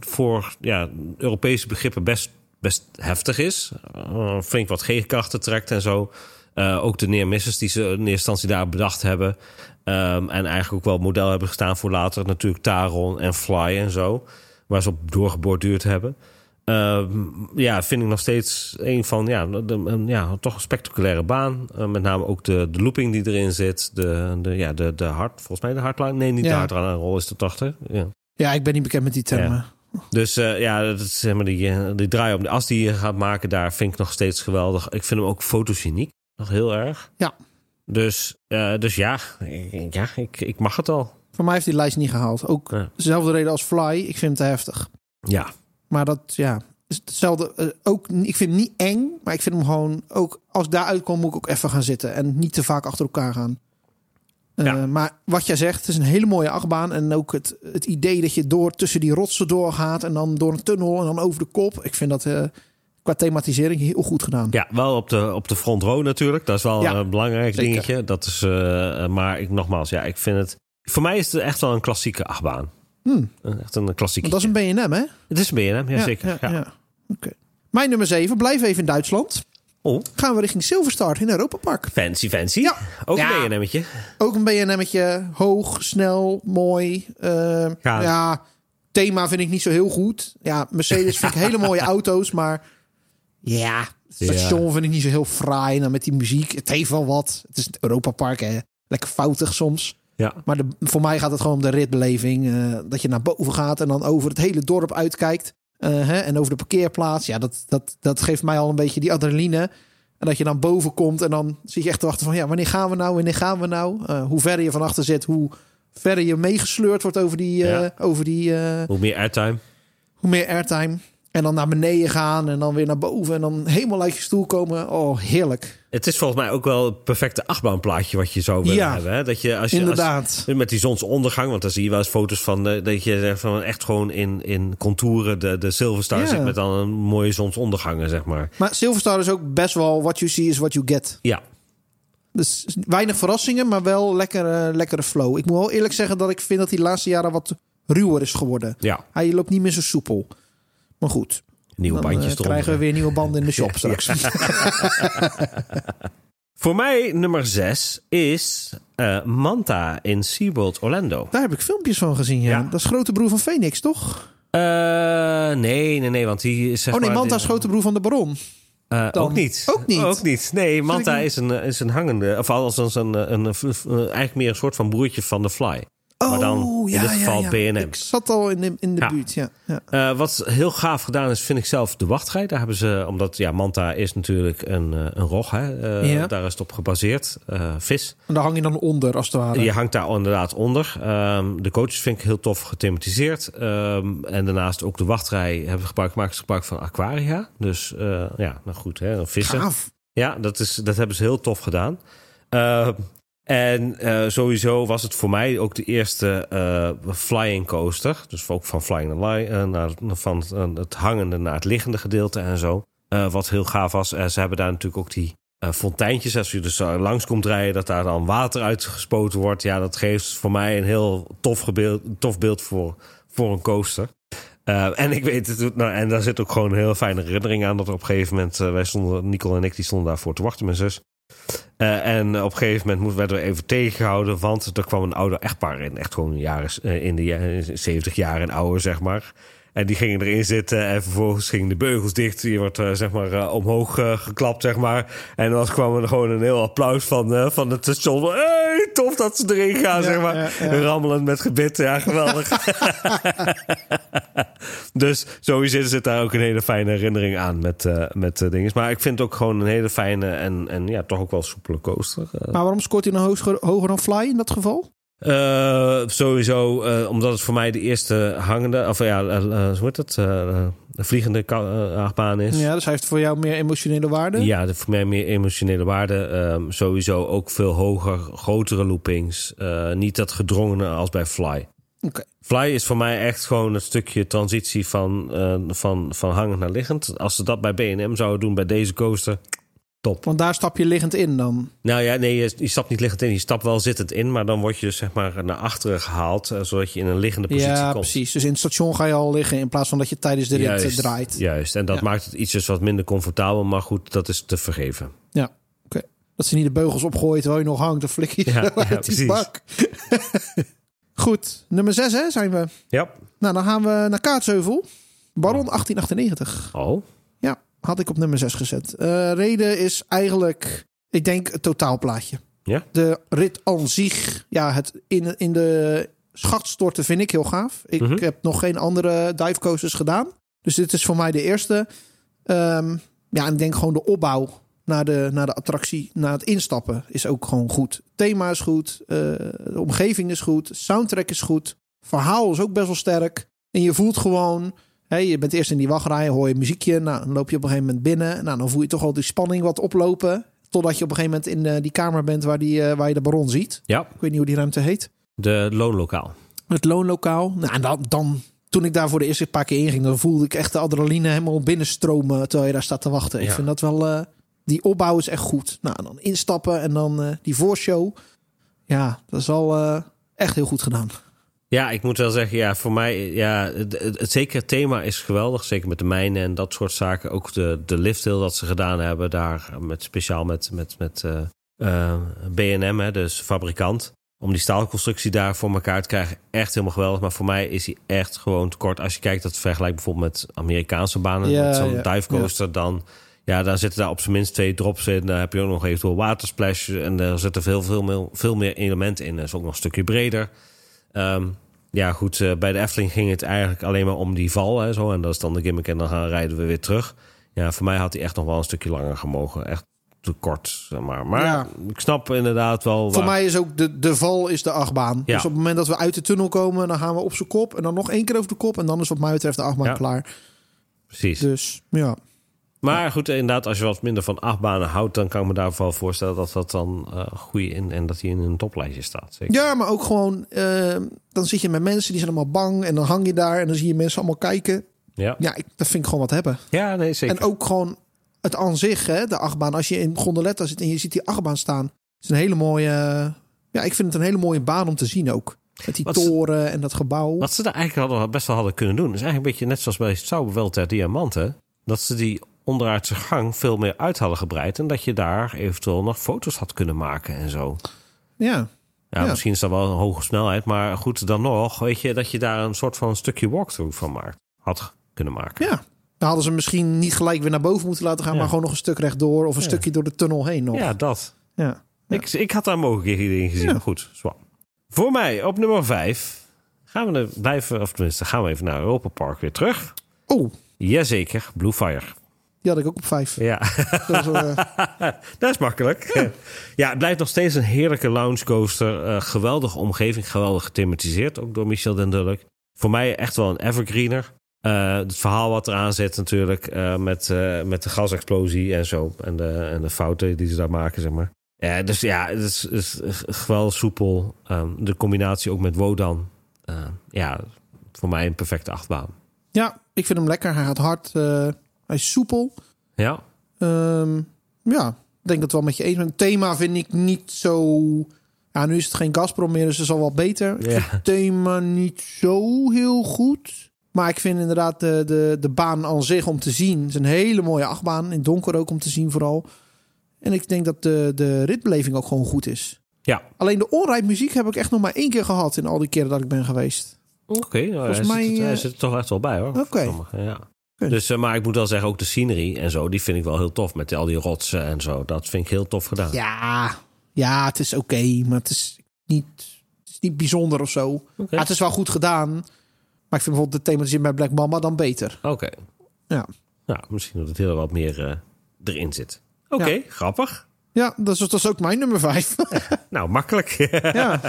S2: voor ja, Europese begrippen best, best heftig is. Eh, flink wat gegenkrachten trekt en zo. Eh, ook de neermissers die ze in eerste instantie daar bedacht hebben. Ehm, en eigenlijk ook wel model hebben gestaan voor later. Natuurlijk Taron en Fly en zo. Waar ze op doorgeborduurd hebben. Ehm, ja, vind ik nog steeds een van, ja, de- een, ja toch een spectaculaire baan. Eh, met name ook de, de looping die erin zit. De, de, ja, de, de hard, volgens mij de hardline. Nee, niet
S1: Ja.
S2: de hardline, rol is de 80. Ja.
S1: ja ik ben niet bekend met die termen.
S2: Dus eh, ja, dat is, zeg maar, die, eh, die draai om de as die je gaat maken, daar vind ik nog steeds geweldig. Ik vind hem ook fotogeniek, nog heel erg.
S1: Ja.
S2: Dus, eh, dus ja, eh, ja ik, ik mag het al.
S1: Voor mij heeft die lijst niet gehaald. Ook
S2: Ja.
S1: dezelfde reden als Fly. Ik vind hem te heftig.
S2: Ja,
S1: Maar dat, ja, is hetzelfde. eh, ook, niet- ik vind hem niet eng, maar ik vind hem gewoon... Ook als ik daaruit kom, moet ik ook even gaan zitten. En niet te vaak achter elkaar gaan. Eh,
S2: Ja.
S1: Maar wat jij zegt, het is een hele mooie achtbaan. En ook het, het idee dat je door tussen die rotsen doorgaat... en dan door een tunnel en dan over de kop. Ik vind dat eh, qua thematisering heel goed gedaan.
S2: ja wel op de, op de front row natuurlijk. Dat is wel
S1: Ja,
S2: een belangrijk
S1: zeker.
S2: dingetje. Dat is, eh, eh, maar ik, nogmaals, ja, ik vind het... Voor mij is het echt wel een klassieke achtbaan.
S1: Hmm.
S2: Een- Echt een klassieke.
S1: Want dat is een B&M, hè?
S2: Het is een BNM, ja, zeker. Ja,
S1: Oké. Mijn nummer 7, blijf even in Duitsland.
S2: Oh,
S1: Gaan we richting Silverstar in Europa Park.
S2: fancy, fancy.
S1: Ja.
S2: Ook
S1: Ja.
S2: een BNM'tje.
S1: Ook een BNM'tje, hoog, snel, mooi. Eh,
S2: Ja.
S1: ja. thema vind ik niet zo heel goed. Ja, Mercedes vind ik hele mooie auto's, maar ja, het
S2: Ja.
S1: station vind ik niet zo heel fraai. En dan met die muziek, het heeft wel wat. Het is het Europa Park, hè. Lekker foutig soms.
S2: Ja.
S1: Maar de- voor mij gaat het gewoon om de ritbeleving. eh, dat je naar boven gaat en dan over het hele dorp uitkijkt. eh, hè, en over de parkeerplaats. Ja, dat, dat, dat geeft mij al een beetje die adrenaline. En dat je dan boven komt en dan zit je echt te wachten van... ja, wanneer gaan we nou, wanneer gaan we nou? Eh, hoe verder je van achter zit, hoe verder je meegesleurd wordt over die... eh,
S2: Ja.
S1: over die eh,
S2: Hoe meer airtime.
S1: hoe meer airtime. En dan naar beneden gaan en dan weer naar boven en dan helemaal uit je stoel komen. Oh, heerlijk.
S2: Het is volgens mij ook wel het perfecte achtbaanplaatje wat je zou willen
S1: Ja,
S2: hebben. Hè? Dat je als je,
S1: inderdaad.
S2: als- met die zonsondergang, want daar zie je wel eens foto's van. eh, Dat je zegt van echt gewoon in, in contouren de, de Silver Star
S1: Ja.
S2: zit met dan een mooie zonsondergangen, zeg maar.
S1: Maar Silver Star is ook best wel what you see is what you get.
S2: Ja,
S1: Dus weinig verrassingen, maar wel lekkere, lekkere flow. Ik moet wel eerlijk zeggen dat ik vind dat hij de laatste jaren wat ruwer is geworden.
S2: ja.
S1: Hij loopt niet meer zo soepel. Maar goed,
S2: Nieuwe
S1: dan eh,
S2: bandjes eronder.
S1: krijgen we weer nieuwe banden
S2: [laughs]
S1: in de shop straks.
S2: Voor mij nummer 6 is eh, Manta in SeaWorld Orlando.
S1: [laughs] Daar heb ik filmpjes van gezien, ja.
S2: Ja.
S1: Dat is grote broer van Phoenix, toch?
S2: Eh, nee, nee, nee, want die is zeg
S1: oh nee,
S2: maar-
S1: Manta is grote broer van de Baron.
S2: Eh,
S1: dan?
S2: ook niet.
S1: Ook niet?
S2: Ook niet. Nee, Manta
S1: ik-
S2: is een, eh, is een hangende, of althans een, een, een, een- eigenlijk meer een soort van broertje van de Fly.
S1: Oh,
S2: Maar dan in dit geval B&M.
S1: Ik zat al in de, in de
S2: Ja.
S1: buurt, ja. ja.
S2: Eh, wat heel gaaf gedaan is, vind ik zelf de wachtrij. Daar hebben ze, omdat ja, Manta is natuurlijk een, eh, een rog, hè? Eh,
S1: Ja.
S2: daar is het op gebaseerd, eh, vis.
S1: En daar hang je dan onder, als het ware.
S2: Je hangt daar inderdaad onder. Ehm, de coaches vind ik heel tof gethematiseerd. Ehm, en daarnaast ook de wachtrij hebben we gebruik, maken ze gebruik van aquaria. Dus eh, ja, nou goed, hè, vissen.
S1: Gaaf.
S2: Ja, dat, is, dat hebben ze heel tof gedaan. Ehm, en eh, sowieso was het voor mij ook de eerste eh, flying coaster. Dus ook van flying naar, li- eh, naar van eh, het hangende naar het liggende gedeelte en zo. Eh, wat heel gaaf was. Eh, ze hebben daar natuurlijk ook die eh, fonteintjes. Als je dus daar langs komt rijden, dat daar dan water uitgespoten wordt. Ja, dat geeft voor mij een heel tof, gebeeld, tof beeld voor, voor een coaster. Eh, en ik weet het, nou, en daar zit ook gewoon een heel fijne herinnering aan. Dat er op een gegeven moment, eh, wij stonden, Nicole en ik, die stonden daarvoor te wachten, mijn zus. Eh, en op een gegeven moment moest- werden we even tegengehouden, want er kwam een ouder echtpaar in. Echt gewoon jaren, eh, in de jaren- 70 jaar en ouder, zeg maar. En die gingen erin zitten en vervolgens gingen de beugels dicht. Je wordt eh, zeg maar eh, omhoog eh, geklapt, zeg maar. En dan kwam er gewoon een heel applaus van, eh, van het station. Hey, tof dat ze erin gaan, zeg maar.
S1: ja, ja.
S2: Rammelend met gebit, ja, geweldig. Dus sowieso zit daar ook een hele fijne herinnering aan met, eh, met eh, dingen. Maar ik vind het ook gewoon een hele fijne en, en ja, toch ook wel soepele coaster. Eh,
S1: Maar waarom scoort hij dan hoog- hoger dan Fly in dat geval?
S2: eh, sowieso, eh, omdat het voor mij de eerste hangende, of ja, eh, eh, hoe heet het? Eh, eh, vliegende ka- eh, achtbaan is.
S1: Ja, dus hij heeft voor jou meer emotionele waarde.
S2: Ja, de- voor mij meer emotionele waarde. Ehm, sowieso ook veel hoger, grotere loopings. Eh, niet dat gedrongene als bij Fly.
S1: Oké.
S2: Fly is voor mij echt gewoon het stukje transitie van, eh, van, van hangend naar liggend. Als ze dat bij BM zouden doen, bij deze coaster.
S1: Want daar stap je liggend in dan.
S2: Nou ja, nee, je, je stapt niet liggend in. Je stapt wel zittend in, maar dan word je dus zeg maar naar achteren gehaald. eh, zodat je in een liggende positie
S1: ja,
S2: komt.
S1: precies. Dus in het station ga je al liggen in plaats van dat je tijdens de rit eh,
S2: Juist,
S1: draait.
S2: Juist, en dat
S1: Ja.
S2: maakt het ietsjes wat minder comfortabel. Maar goed, dat is te vergeven.
S1: Ja, oké. Dat ze niet de beugels opgooien terwijl je nog hangt. Dan flik je
S2: Ja,
S1: zo [laughs] uit
S2: ja,
S1: die
S2: precies.
S1: bak. Goed, nummer 6 hè, zijn we.
S2: Ja.
S1: Nou, dan gaan we naar Kaatsheuvel. Baron 1898.
S2: Oh,
S1: Ja, had ik op nummer 6 gezet. Eh, reden is eigenlijk, ik denk, het totaalplaatje.
S2: Ja.
S1: De rit aan zich, ja, het in, in de schacht storten vind ik heel gaaf. Ik
S2: Mhm.
S1: heb nog geen andere dive coasters gedaan. Dus dit is voor mij de eerste. Ehm, ja, en ik denk gewoon de opbouw naar de, naar de attractie, naar het instappen is ook gewoon goed. Thema is goed, eh, de omgeving is goed, soundtrack is goed, verhaal is ook best wel sterk. En je voelt gewoon, hè, je bent eerst in die wachtrij, hoor je muziekje, nou, dan loop je op een gegeven moment binnen, nou, dan voel je toch al die spanning wat oplopen, totdat je op een gegeven moment in eh, die kamer bent waar, die, eh, waar je de baron ziet.
S2: ja.
S1: Ik weet niet hoe die ruimte heet.
S2: De loonlokaal.
S1: Het loonlokaal. Nou, en dan, dan, toen ik daar voor de eerste paar keer inging, dan voelde ik echt de adrenaline helemaal binnenstromen terwijl je daar staat te wachten. Ik
S2: Ja.
S1: vind dat wel, eh, die opbouw is echt goed. Nou, en dan instappen en dan eh, die voorshow. Ja, dat is al eh, echt heel goed gedaan.
S2: Ja, ik moet wel zeggen, ja, voor mij, ja, het, het, het zeker het thema is geweldig. Zeker met de mijnen en dat soort zaken. Ook de, de lifthill dat ze gedaan hebben daar, met, speciaal met, met, met eh, eh, BNM, hè, dus fabrikant. Om die staalconstructie daar voor elkaar te krijgen, echt helemaal geweldig. Maar voor mij is hij echt gewoon tekort. Als je kijkt, dat vergelijkt bijvoorbeeld met Amerikaanse banen,
S1: Ja,
S2: met zo'n
S1: ja,
S2: divecoaster, dan... Ja, daar zitten daar op zijn minst twee drops in. Daar heb je ook nog eventueel watersplash. En daar zitten veel, veel, meer- veel meer elementen in. Dat is ook nog een stukje breder. Ehm, ja, goed. eh, bij de Efteling ging het eigenlijk alleen maar om die val. Hè, zo. En dat is dan de gimmick. En dan gaan, rijden we weer terug. Ja, voor mij had hij echt nog wel een stukje langer gemogen. Echt te kort. Zeg maar maar
S1: Ja.
S2: ik snap inderdaad wel.
S1: Voor
S2: waar-
S1: mij is ook de, de val is de achtbaan.
S2: Ja.
S1: Dus op het moment dat we uit de tunnel komen, dan gaan we op zijn kop. En dan nog één keer over de kop. En dan is wat mij betreft de achtbaan
S2: Ja.
S1: klaar.
S2: Precies.
S1: Dus ja.
S2: Maar goed, inderdaad, als je wat minder van achtbanen houdt, dan kan ik me daar wel voorstellen dat dat dan eh goed in en dat hij in een toplijstje staat. Zeker.
S1: Ja, maar ook gewoon, eh, dan zit je met mensen die zijn allemaal bang. En dan hang je daar en dan zie je mensen allemaal kijken.
S2: Ja.
S1: Ja, ik, dat vind ik gewoon wat hebben.
S2: Ja, nee, zeker.
S1: En ook gewoon het aan zich, hè, de achtbaan. Als je in Gondoletta zit en je ziet die achtbaan staan. Het is een hele mooie... eh, Ja, ik vind het een hele mooie baan om te zien ook. Met die
S2: Wat-
S1: toren en dat gebouw.
S2: Wat ze daar eigenlijk hadden, best wel hadden kunnen doen, is eigenlijk een beetje net zoals bij Sauberwelt der Diamanten. Dat ze die onderaardse gang veel meer uit hadden gebreid. En dat je daar eventueel nog foto's had kunnen maken en zo.
S1: Ja.
S2: Ja,
S1: Ja.
S2: misschien is dat wel een hoge snelheid. Maar goed, dan nog, weet je, dat je daar een soort van stukje walkthrough van maakt. Had kunnen maken.
S1: Ja. Dan hadden ze misschien niet gelijk weer naar boven moeten laten gaan,
S2: Ja.
S1: maar gewoon nog een stuk rechtdoor of een
S2: Ja.
S1: stukje door de tunnel heen nog. Ja.
S2: Ja, dat.
S1: Ja.
S2: Ik, ik had daar mogelijkheden in gezien.
S1: Ja.
S2: Maar Goed, zwak. Voor mij, op nummer 5, gaan we er blijven, of tenminste, gaan we even naar Europa Park weer terug.
S1: Oh,
S2: Jazeker, Blue Fire.
S1: die had ik ook op vijf.
S2: Ja.
S1: Dat was, eh, [laughs]
S2: Dat is makkelijk. [laughs] Ja. het blijft nog steeds een heerlijke loungecoaster. Eh, geweldige omgeving, geweldig gethematiseerd. Ook door Michel Dendulk. Voor mij echt wel een evergreener. Eh, het verhaal wat eraan zit natuurlijk. eh, met, eh, met de gasexplosie en zo. En de, en de fouten die ze daar maken, zeg maar. Ja, dus ja, het is, is geweldig soepel. Ehm, de combinatie ook met Wodan. Eh, ja, voor mij een perfecte achtbaan.
S1: ja, ik vind hem lekker. Hij gaat hard. eh, hij is soepel.
S2: Ja,
S1: Ehm, ja, ik denk dat wel met je eens. ben. Het thema vind ik niet zo. Ja, nu is het geen Gazprom meer, dus dat is al wat beter. Ik
S2: Ja.
S1: vind het thema niet zo heel goed. Maar ik vind inderdaad de, de, de baan aan zich om te zien. Het is een hele mooie achtbaan. In het donker ook om te zien vooral. En ik denk dat de, de ritbeleving ook gewoon goed is.
S2: ja.
S1: Alleen de onrijd muziek heb ik echt nog maar één keer gehad in al die keren dat ik ben geweest.
S2: Oké, nou, hij,
S1: Volgens mij,
S2: zit, hij
S1: eh,
S2: zit er toch echt wel bij hoor.
S1: Oké.
S2: Sommige, Ja.
S1: Oké.
S2: Dus, eh, maar ik moet wel zeggen, ook de scenery en zo, die vind ik wel heel tof. Met al die rotsen en zo, dat vind ik heel tof gedaan.
S1: Ja, ja het is oké, maar het is, niet, het is niet bijzonder of zo.
S2: Oké.
S1: Ja, Ah, het is wel goed gedaan. Maar ik vind bijvoorbeeld de thematisering bij Black Mama dan beter.
S2: Oké.
S1: Ja.
S2: Nou, misschien dat het heel wat meer eh, erin zit. Oké,
S1: Ja.
S2: grappig.
S1: Ja, dat is, dat is ook mijn nummer vijf.
S2: Nou, makkelijk.
S1: [laughs]
S2: [laughs]
S1: ja.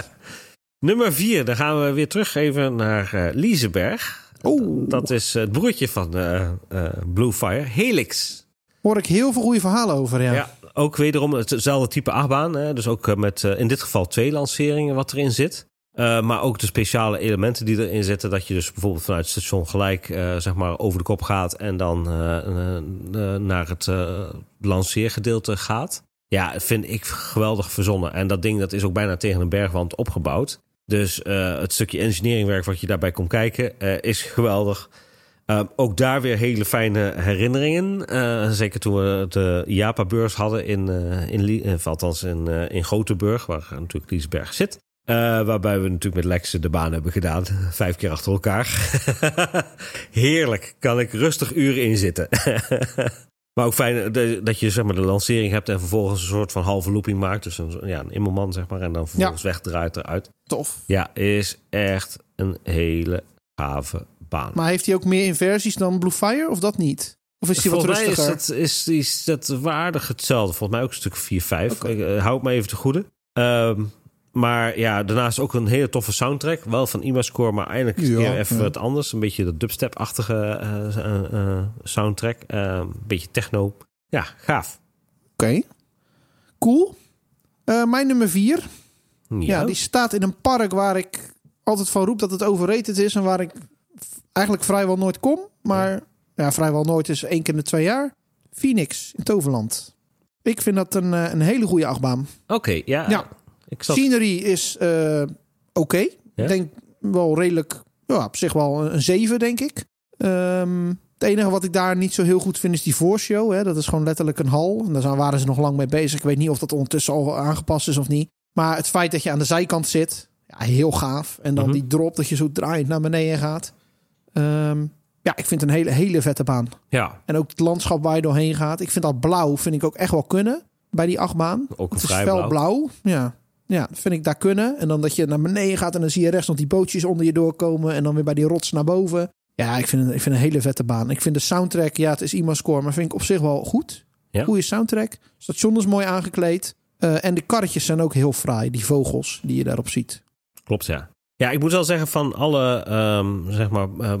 S2: Nummer vier, dan gaan we weer terug even naar eh Lieseberg.
S1: Oeh,
S2: Dat is het broertje van eh eh, Blue Fire, Helix.
S1: hoor ik heel veel goede verhalen over, ja.
S2: Ja, ook wederom hetzelfde type achtbaan. Hè? Dus ook eh, met eh, in dit geval twee lanceringen wat erin zit. Eh, maar ook de speciale elementen die erin zitten. Dat je dus bijvoorbeeld vanuit het station gelijk eh, zeg maar over de kop gaat. En dan eh, eh, eh, naar het eh, lanceergedeelte gaat. Ja, vind ik geweldig verzonnen. En dat ding dat is ook bijna tegen een bergwand opgebouwd. Dus eh, het stukje engineeringwerk wat je daarbij komt kijken eh, is geweldig. Ehm, ook daar weer hele fijne herinneringen. Eh, zeker toen we de Japa-beurs hadden in, eh in, Lie- eh, althans in, eh, in Gothenburg, waar natuurlijk Liesberg zit. Eh, waarbij we natuurlijk met Lexen de baan hebben gedaan. [laughs] Vijf keer achter elkaar. [laughs] Heerlijk. Kan ik rustig uren in zitten. [laughs] maar ook fijn de- dat je zeg maar, de lancering hebt en vervolgens een soort van halve looping maakt. Dus een, ja, een immelman zeg maar. En dan vervolgens wegdraait eruit.
S1: Tof.
S2: Ja, is echt een hele gave baan.
S1: Maar heeft hij ook meer inversies dan Blue Fire of dat niet? Of is hij wat
S2: Volgens mij
S1: rustiger?
S2: Is dat, is, is dat waardig hetzelfde. Volgens mij ook een stuk 4, 5.
S1: Oké.
S2: Ik, eh, houd me even te goede. Ehm, maar ja, daarnaast ook een hele toffe soundtrack. Wel van Imascore, maar eindelijk een
S1: Ja,
S2: keer even
S1: ja.
S2: wat anders. Een beetje dat dubstep-achtige eh, eh, eh, soundtrack. Eh, Een beetje techno. Ja, gaaf.
S1: Oké. Cool. Eh, mijn nummer vier. Ja. die staat in een park waar ik altijd van roep dat het overrated is en waar ik v- eigenlijk vrijwel nooit kom. Maar ja. vrijwel nooit is één keer in de twee jaar. Phoenix in Toverland. Ik vind dat een, eh, een hele goede achtbaan.
S2: Oké, ja.
S1: Ja.
S2: Ik zat...
S1: Scenery is eh, oké.
S2: Ja.
S1: Ik denk wel redelijk, ja, op zich wel een een 7, denk ik. Ehm, het enige wat ik daar niet zo heel goed vind is die voorshow. Hè. Dat is gewoon letterlijk een hal. En daar zijn- waren ze nog lang mee bezig. Ik weet niet of dat ondertussen al aangepast is of niet. Maar het feit dat je aan de zijkant zit, ja, heel gaaf. En dan
S2: Mhm.
S1: die drop dat je zo draaiend naar beneden gaat. Ehm, ja, ik vind het een hele, hele vette baan.
S2: Ja,
S1: En ook het landschap waar je doorheen gaat. Ik vind dat blauw, vind ik ook echt wel kunnen bij die achtbaan.
S2: ook een
S1: Het is
S2: vrij
S1: fel
S2: blauw.
S1: blauw. Ja. ja, dat vind ik daar kunnen. En dan dat je naar beneden gaat en dan zie je rechts nog die bootjes onder je doorkomen. En dan weer bij die rots naar boven. Ja, ik vind, het- ik vind het een hele vette baan. Ik vind de soundtrack, ja, het is IMA score, maar vind ik op zich wel goed.
S2: Ja.
S1: Goede soundtrack. Station is mooi aangekleed. Eh, en de karretjes zijn ook heel fraai. Die vogels die je daarop ziet.
S2: Klopt, ja. Ja, ik moet wel zeggen van alle, ehm, zeg maar, ehm,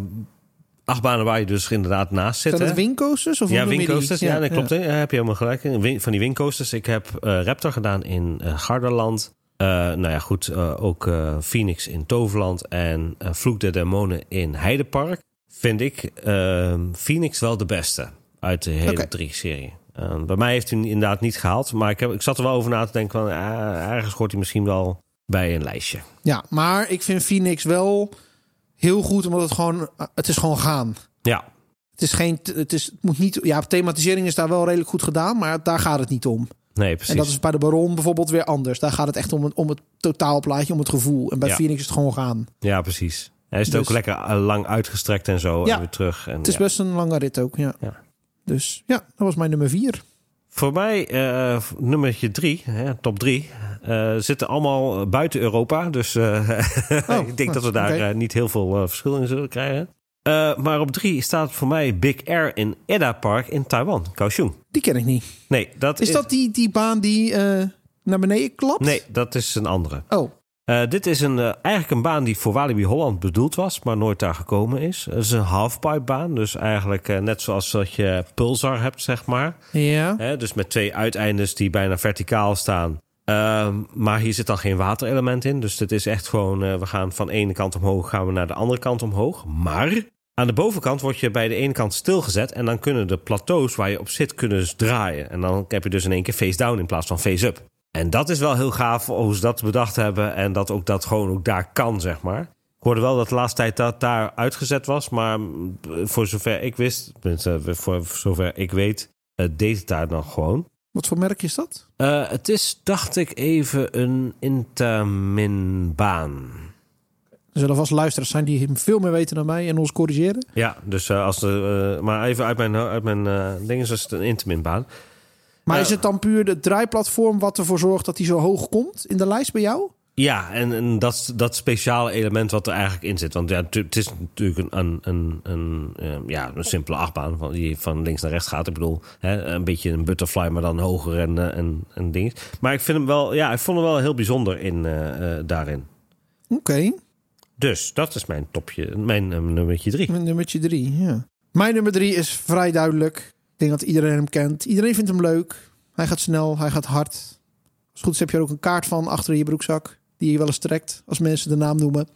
S2: achtbanen waar je dus inderdaad naast zit.
S1: Zijn dat
S2: hè?
S1: wingcoasters? Of hoe
S2: Ja,
S1: noem je die?
S2: windcoasters. Ja, dat klopt. hè. Daar heb je helemaal gelijk. in. Win- Van die windcoasters. Ik heb eh, Raptor gedaan in eh, Gardaland. Eh, nou ja, goed. eh, ook eh, Phoenix in Toverland. En eh, Vloek der Demonen in Heidepark. Vind ik eh, Phoenix wel de beste uit de hele
S1: Oké.
S2: drie serie. Eh, bij mij heeft hij inderdaad niet gehaald. Maar ik, heb, ik zat er wel over na te denken. Van, ah, ergens hoort hij misschien wel bij een lijstje.
S1: Ja, maar ik vind Phoenix wel heel goed, omdat het gewoon, het is gewoon gaan.
S2: Ja,
S1: Het is geen, het is, het moet niet, ja, thematisering is daar wel redelijk goed gedaan, maar daar gaat het niet om.
S2: nee, precies.
S1: En dat is bij de Baron bijvoorbeeld weer anders. Daar gaat het echt om het, om het totaalplaatje, om het gevoel. En bij
S2: Ja.
S1: Phoenix is het gewoon gaan.
S2: Ja, precies. Hij is het
S1: Dus-
S2: ook lekker eh, lang uitgestrekt en zo.
S1: Ja.
S2: En weer terug. En,
S1: Het is
S2: ja.
S1: best een lange rit ook, ja.
S2: Ja.
S1: Dus ja, dat was mijn nummer vier.
S2: Voor mij, eh, nummertje drie, hè, top drie, eh, zitten allemaal buiten Europa. Dus eh, [laughs] ik denk
S1: nou,
S2: dat we daar
S1: oké.
S2: eh, niet heel veel eh, verschil in zullen krijgen. Eh, maar op drie staat voor mij Big Air in Eda Park in Taiwan, Kaohsiung.
S1: Die ken ik niet.
S2: Nee, dat
S1: Is dat die, die baan die eh, naar beneden klapt?
S2: Nee, dat is een andere.
S1: Oh,
S2: Eh, dit is een, eh, eigenlijk een baan die voor Walibi Holland bedoeld was, maar nooit daar gekomen is. Het is een halfpipe baan, dus eigenlijk eh, net zoals dat je Pulsar hebt, zeg maar.
S1: ja.
S2: Hè, dus met twee uiteindes die bijna verticaal staan. Ehm, maar hier zit dan geen waterelement in. Dus dit is echt gewoon, eh, we gaan van de ene kant omhoog, gaan we naar de andere kant omhoog. Maar aan de bovenkant word je bij de ene kant stilgezet. En dan kunnen de plateaus waar je op zit, kunnen dus draaien. En dan heb je dus in één keer face down in plaats van face up. En dat is wel heel gaaf hoe ze dat bedacht hebben. En dat ook dat gewoon ook daar kan, zeg maar. Ik hoorde wel dat de laatste tijd dat daar uitgezet was. Maar mm, voor zover ik wist, tenminste, voor zover ik weet, eh, deed het daar dan gewoon.
S1: Wat voor merk is dat?
S2: Eh, het is, dacht ik, even een interminbaan.
S1: Er zullen vast luisteraars zijn die veel meer weten dan mij en ons corrigeren.
S2: Ja, dus eh, als de, eh, maar even uit mijn, uit mijn eh, ding is het een interminbaan.
S1: Maar
S2: Ja.
S1: is het dan puur het draaiplatform wat ervoor zorgt dat hij zo hoog komt in de lijst bij jou?
S2: Ja, en, en dat, dat speciale element wat er eigenlijk in zit. Want ja, tu- het is natuurlijk een, een, een, een, eh, ja, een simpele achtbaan van, die van links naar rechts gaat. Ik bedoel, hè, een beetje een butterfly, maar dan hoger en, eh, en, en dingen. Maar ik, vind hem wel, ja, ik vond hem wel heel bijzonder in, eh, eh, daarin.
S1: Oké,
S2: Dus dat is mijn topje, mijn eh, nummertje drie.
S1: mijn nummertje drie. Ja. Mijn nummer drie is vrij duidelijk. Ik denk dat iedereen hem kent. Iedereen vindt hem leuk. Hij gaat snel, hij gaat hard. Als het goed is heb je er ook een kaart van achter in je broekzak. Die je wel eens trekt als mensen de naam noemen.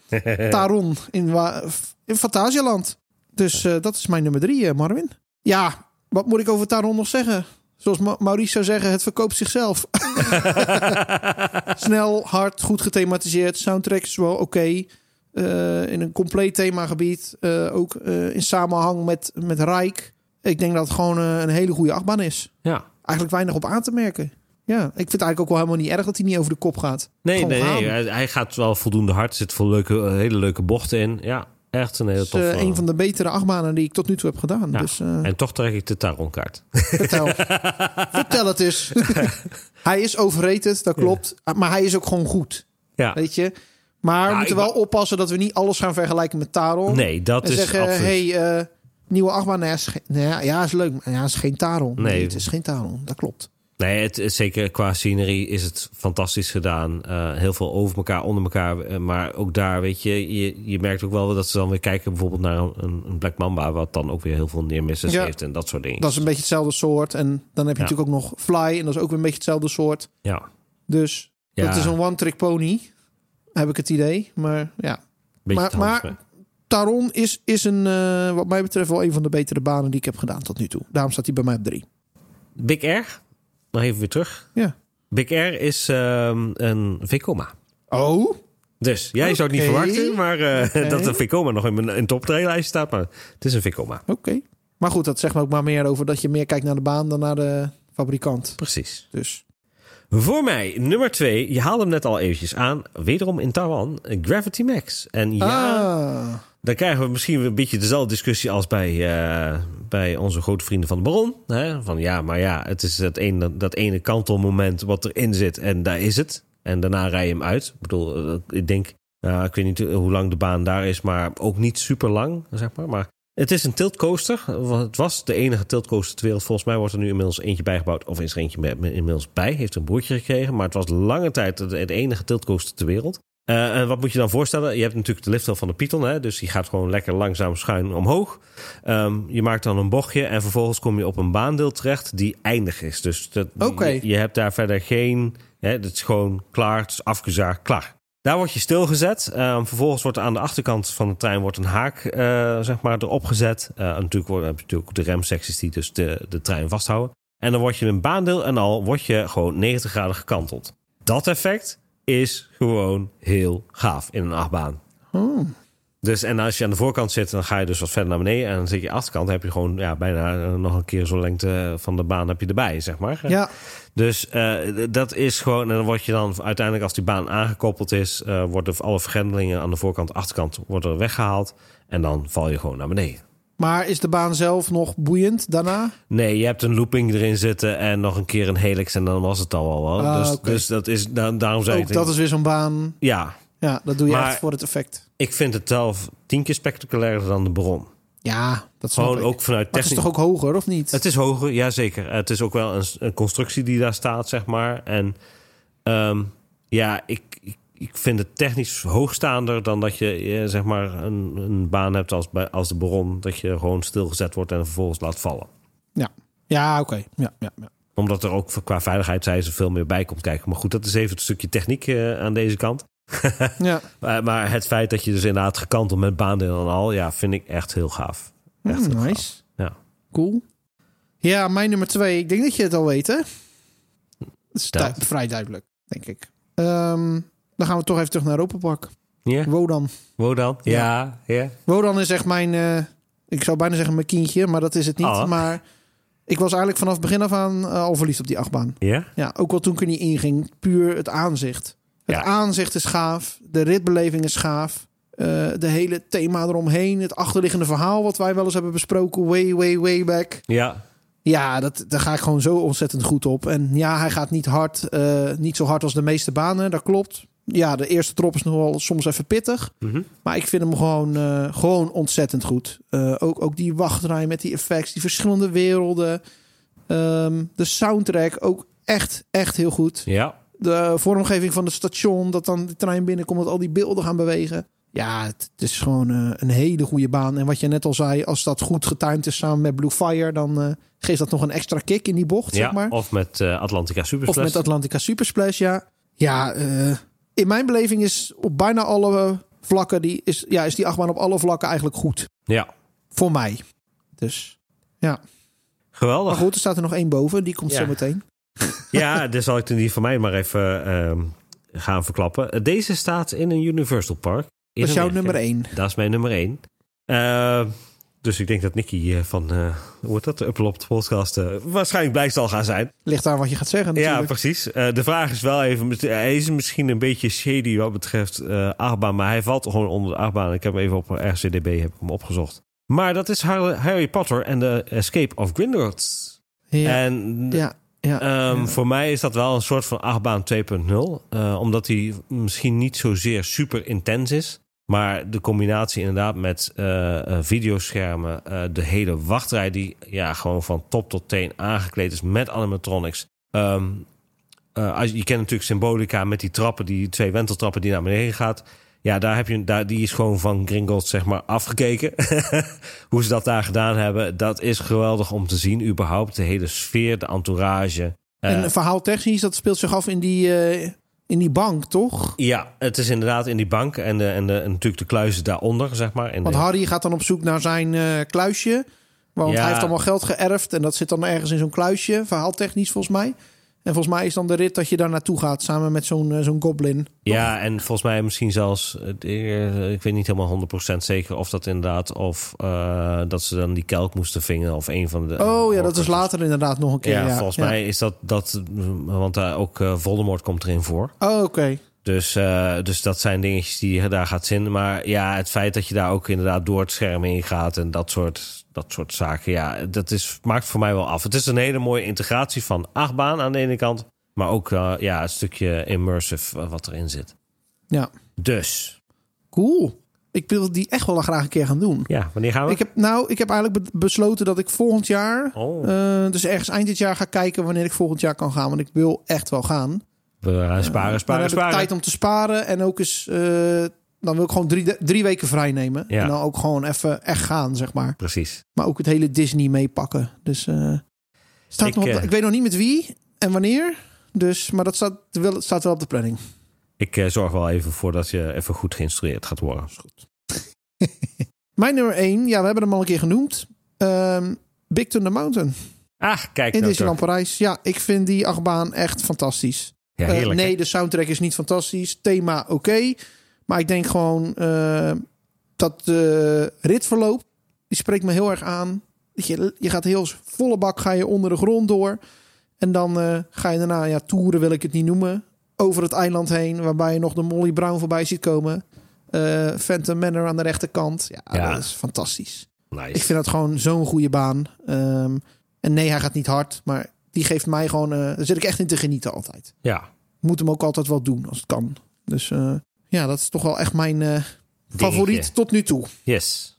S1: Taron in, Wa- in Fantasialand. Dus eh, dat is mijn nummer drie, eh, Marvin. Ja, wat moet ik over Taron nog zeggen? Zoals Ma- Maurice zou zeggen, het verkoopt zichzelf. [laughs] Snel, hard, goed gethematiseerd. Soundtrack is wel oké. Eh, in een compleet themagebied. Eh, ook eh, in samenhang met, met Rijk. Ik denk dat het gewoon eh, een hele goede achtbaan is.
S2: ja.
S1: Eigenlijk weinig op aan te merken. Ja, ik vind het eigenlijk ook wel helemaal niet erg dat hij niet over de kop gaat.
S2: Nee,
S1: Gewoon
S2: nee,
S1: gaan.
S2: nee. Hij, hij gaat wel voldoende hard. Er zitten veel leuke, eh, hele leuke bochten in. Ja, echt een hele
S1: Het is
S2: toffe.
S1: eh, een van de betere achtbanen die ik tot nu toe heb gedaan.
S2: Ja.
S1: Dus eh,
S2: En toch trek ik de Taronkaart.
S1: vertel.
S2: [laughs]
S1: vertel het eens. hij is overrated, dat klopt. Maar hij is ook gewoon goed,
S2: Ja.
S1: weet je. Maar we
S2: Ja,
S1: moeten
S2: ik
S1: wel oppassen dat we niet alles gaan vergelijken met Taron.
S2: Nee, dat
S1: en
S2: is
S1: zeggen,
S2: absoluut.
S1: hey, eh, nieuwe achtbaan. Nee, is geen- nee, ja, is leuk. maar Ja, is geen Taron. Nee.
S2: Nee.
S1: het is geen Taron. Dat klopt.
S2: Nee, het, is zeker qua scenerie is het fantastisch gedaan. Eh, heel veel over elkaar, onder elkaar. eh, maar ook daar, weet je, je, je merkt ook wel dat ze dan weer kijken bijvoorbeeld naar een, een Black Mamba... wat dan ook weer heel veel neermissers
S1: Ja.
S2: heeft en dat soort dingen.
S1: Dat is een beetje hetzelfde soort. En dan heb je
S2: Ja.
S1: natuurlijk ook nog Fly. En dat is ook weer een beetje hetzelfde soort.
S2: Ja,
S1: Dus
S2: Ja.
S1: dat is een one-trick pony. Heb ik het idee. Maar ja,
S2: beetje
S1: Maar-
S2: te
S1: maar-
S2: handig mee.
S1: Taron is, is een, eh, wat mij betreft wel een van de betere banen die ik heb gedaan tot nu toe. Daarom staat hij bij mij op drie.
S2: Big Air, nog even weer terug.
S1: Ja.
S2: Big Air is ehm, een Vekoma.
S1: Oh?
S2: Dus jij zou het niet
S1: Oké.
S2: verwachten, maar eh,
S1: Oké.
S2: [laughs] dat een Vekoma nog in mijn in top 3 lijst staat. Maar het is een Vekoma.
S1: Oké. Maar goed, dat zegt me ook maar meer over dat je meer kijkt naar de baan dan naar de fabrikant.
S2: Precies.
S1: Dus
S2: Voor mij, nummer 2. Je haalde hem net al eventjes aan. Wederom in Taiwan, eh, Gravity Max. En ja,
S1: ah,
S2: dan krijgen we misschien weer een beetje dezelfde discussie als bij, eh, bij onze grote vrienden van de Baron. Hè? Van ja, maar ja, het is dat ene, dat ene kantelmoment wat erin zit en daar is het. En daarna rij je hem uit. Ik bedoel, eh, ik denk, eh, ik weet niet hoe lang de baan daar is, maar ook niet super lang, zeg maar. Maar Het is een tiltcoaster. want Het was de enige tiltcoaster ter wereld. Volgens mij wordt er nu inmiddels eentje bijgebouwd. Of is er eentje me- me- inmiddels bij. Heeft een broertje gekregen. Maar het was lange tijd de, de enige tiltcoaster ter wereld. Eh, en wat moet je dan voorstellen? Je hebt natuurlijk de lifthill van de Python. Hè? Dus die gaat gewoon lekker langzaam schuin omhoog. Ehm, je maakt dan een bochtje. En vervolgens kom je op een baandeel terecht die eindig is. Dus dat,
S1: Oké.
S2: je, je hebt daar verder geen... Hè, het is gewoon klaar. Het is afgezaagd. Klaar. Daar word je stilgezet. Ehm, vervolgens wordt er aan de achterkant van de trein wordt een haak eh, zeg maar, erop gezet. Eh, en natuurlijk worden, heb je natuurlijk de remsecties die dus de, de trein vasthouden. En dan word je in een baandeel en al word je gewoon 90 graden gekanteld. Dat effect is gewoon heel gaaf in een achtbaan.
S1: Oh.
S2: Dus en als je aan de voorkant zit, dan ga je dus wat verder naar beneden. En dan zit je aan de achterkant, dan heb je gewoon ja, bijna eh, nog een keer zo'n lengte van de baan heb je erbij, zeg maar.
S1: Ja,
S2: Dus eh, d- dat is gewoon. En dan word je dan uiteindelijk, als die baan aangekoppeld is, eh, worden alle vergrendelingen aan de voorkant en achterkant worden weggehaald. En dan val je gewoon naar beneden.
S1: maar is de baan zelf nog boeiend daarna?
S2: Nee, je hebt een looping erin zitten en nog een keer een helix en dan was het al wel. wel.
S1: Ah,
S2: dus,
S1: oké.
S2: dus dat is, da- daarom zei ik.
S1: Ook dat is weer zo'n baan.
S2: Ja,
S1: Ja, dat doe je
S2: Maar-
S1: echt voor het effect.
S2: ik vind het zelf tien keer spectaculairder dan de bron.
S1: Ja, dat snap
S2: Gewoon
S1: ik.
S2: ook vanuit
S1: maar het is
S2: technisch.
S1: toch ook hoger, of niet?
S2: Het is hoger, ja zeker. Het is ook wel een, een constructie die daar staat, zeg maar. En ehm, ja, ik, ik, ik vind het technisch hoogstaander dan dat je eh, zeg maar een, een baan hebt als, bij, als de bron. Dat je gewoon stilgezet wordt en vervolgens laat vallen.
S1: Ja, ja oké. Ja, ja,
S2: [laughs]
S1: ja.
S2: Omdat er ook qua veiligheid zij ze veel meer bij komt kijken. Maar goed, dat is even het stukje techniek eh, aan deze kant.
S1: ja.
S2: Maar, maar het feit dat je dus inderdaad gekanteld met baandeel en al, ja, vind ik echt heel gaaf. Echt
S1: Hmm,
S2: heel gaaf.
S1: nice.
S2: Ja.
S1: Cool. Ja, mijn nummer twee. Ik denk dat je het al weet, hè? Dat is
S2: Vertel.
S1: du- vrij duidelijk, denk ik. Ehm, dan gaan we toch even terug naar Europa Park.
S2: Ja,
S1: Wodan.
S2: Wodan? Ja, ja.
S1: Wodan is echt mijn... eh, ik zou bijna zeggen mijn kindje, maar dat is het niet.
S2: Ah.
S1: Maar ik was eigenlijk vanaf het begin af aan eh, al verliefd op die achtbaan.
S2: Ja?
S1: Ja, ook wel toen ik er niet inging. Puur het aanzicht. Het
S2: Ja.
S1: aanzicht is gaaf. De ritbeleving is gaaf. eh, de hele thema eromheen. Het achterliggende verhaal wat wij wel eens hebben besproken. Way, way, way back.
S2: Ja.
S1: Ja, dat, daar ga ik gewoon zo ontzettend goed op. En ja, hij gaat niet hard. eh, niet zo hard als de meeste banen, dat klopt. Ja, de eerste trop is nog wel soms even pittig.
S2: Mhm.
S1: Maar ik vind hem gewoon, eh, gewoon ontzettend goed. Eh, ook, ook die wachtrij met die effects, die verschillende werelden. Ehm, de soundtrack ook echt, echt heel goed.
S2: Ja.
S1: De vormgeving van het station, dat dan de trein binnenkomt, dat al die beelden gaan bewegen. Ja, het, het is gewoon eh, een hele goede baan. En wat je net al zei, als dat goed getimed is samen met Blue Fire, dan eh, geeft dat nog een extra kick in die bocht,
S2: ja,
S1: zeg maar.
S2: Of met eh, Atlantica
S1: Of
S2: Supersplash.
S1: met Atlantica Supersplash, ja. Ja, eh, in mijn beleving is op bijna alle eh, vlakken, die is, ja, is die achtbaan op alle vlakken eigenlijk goed.
S2: Ja,
S1: Voor mij. Dus, maar
S2: geweldig.
S1: goed, er staat er nog één boven, die komt
S2: Ja.
S1: zo meteen.
S2: [laughs] Ja, dus zal ik die van mij maar even ehm, gaan verklappen. Eh, Deze staat in een Universal Park. In
S1: Dat is jouw
S2: Amerika.
S1: nummer één.
S2: Dat is mijn nummer één. Ehm, dus ik denk dat Nicky eh, van, eh hoe wordt dat, de Upload podcast, eh, waarschijnlijk blij zal gaan zijn.
S1: Ligt aan wat je gaat zeggen
S2: Ja,
S1: natuurlijk.
S2: precies. Eh, de vraag is wel even, hij is misschien een beetje shady wat betreft eh achtbaan, maar hij valt gewoon onder de achtbaan. Ik heb hem even op RCDB heb ik hem opgezocht. Maar dat is Har- Harry Potter en de Escape of Grindelwald.
S1: ja,
S2: En
S1: ja, ja.
S2: Ehm,
S1: Ja.
S2: Voor mij is dat wel een soort van achtbaan 2.0. eh, omdat die misschien niet zozeer super intens is. Maar de combinatie inderdaad met eh, eh, videoschermen, eh, de hele wachtrij die ja, gewoon van top tot teen aangekleed is met animatronics. Ehm, eh, als, je kent natuurlijk Symbolica met die trappen, die twee wenteltrappen die naar beneden gaat. Ja, daar heb je, daar, die is gewoon van Gringotts zeg maar afgekeken. [laughs] Hoe ze dat daar gedaan hebben, dat is geweldig om te zien. Überhaupt de hele sfeer, de entourage. Eh,
S1: en verhaaltechnisch, dat speelt zich af in die, eh, in die bank, toch?
S2: ja, het is inderdaad in die bank en, de, en, de, en natuurlijk de kluizen daaronder, zeg maar. En
S1: Want Harry gaat dan op zoek naar zijn eh, kluisje. Want
S2: Ja.
S1: hij heeft allemaal geld geërfd en dat zit dan ergens in zo'n kluisje. Verhaaltechnisch volgens mij. En volgens mij is dan de rit dat je daar naartoe gaat samen met zo'n eh, zo'n goblin.
S2: ja, en volgens mij misschien zelfs, eh, ik weet niet helemaal 100% zeker of dat inderdaad, of eh, dat ze dan die kelk moesten vingen of een van de.
S1: Oh ja, dat is later inderdaad nog een keer.
S2: Ja,
S1: Ja,
S2: volgens
S1: ja.
S2: mij is dat, dat want daar ook eh, Voldemort komt erin voor.
S1: Oh, oké.
S2: Dus, eh, dus dat zijn dingetjes die je daar gaat zien. Maar ja, het feit dat je daar ook inderdaad door het scherm heen gaat en dat soort, dat soort zaken, ja, dat is, maakt voor mij wel af. Het is een hele mooie integratie van achtbaan aan de ene kant, maar ook eh, ja, een stukje immersive eh, wat erin zit.
S1: Ja,
S2: Dus,
S1: cool. Ik wil die echt wel graag een keer gaan doen.
S2: Ja, wanneer gaan we?
S1: Ik heb, nou, ik heb eigenlijk be- besloten dat ik volgend jaar,
S2: Oh.
S1: eh, dus ergens eind dit jaar, ga kijken wanneer ik volgend jaar kan gaan. Want ik wil echt wel gaan.
S2: Eh, sparen,
S1: Maar dan
S2: sparen,
S1: heb ik
S2: sparen.
S1: tijd om te sparen. En ook eens, eh, dan wil ik gewoon drie, drie weken vrij nemen.
S2: Ja.
S1: En dan ook gewoon even echt gaan, zeg maar.
S2: Precies.
S1: Maar ook het hele Disney meepakken. Dus eh, staat
S2: Ik,
S1: nog op-
S2: eh,
S1: ik weet nog niet met wie en wanneer. Dus, maar dat staat wel, staat wel op de planning.
S2: Ik eh, zorg wel even voor dat je even goed geïnstrueerd gaat worden.
S1: Mijn nummer één, ja, we hebben hem al een keer genoemd. Ehm, Big Thunder Mountain
S2: Ah, kijk.
S1: in
S2: nou
S1: Disneyland Parijs. Ja, ik vind die achtbaan echt fantastisch.
S2: toch. Ja,
S1: Eh,
S2: heerlijk. hè?
S1: nee, de soundtrack is niet fantastisch. Thema oké. Maar ik denk gewoon eh, dat de ritverloop, die spreekt me heel erg aan. Dat je, je gaat heel volle bak ga je onder de grond door. En dan eh, ga je daarna, ja, toeren wil ik het niet noemen. Over het eiland heen, waarbij je nog de Molly Brown voorbij ziet komen. Eh Phantom Manor aan de rechterkant. Ja,
S2: Ja.
S1: dat is fantastisch.
S2: Nice.
S1: Ik vind dat gewoon zo'n goede baan. Ehm, en nee, hij gaat niet hard. Maar die geeft mij gewoon... eh daar zit ik echt in te genieten altijd
S2: Ja.
S1: moet hem ook altijd wel doen als het kan. Dus eh, ja, dat is toch wel echt mijn eh, favoriet tot nu toe.
S2: Yes.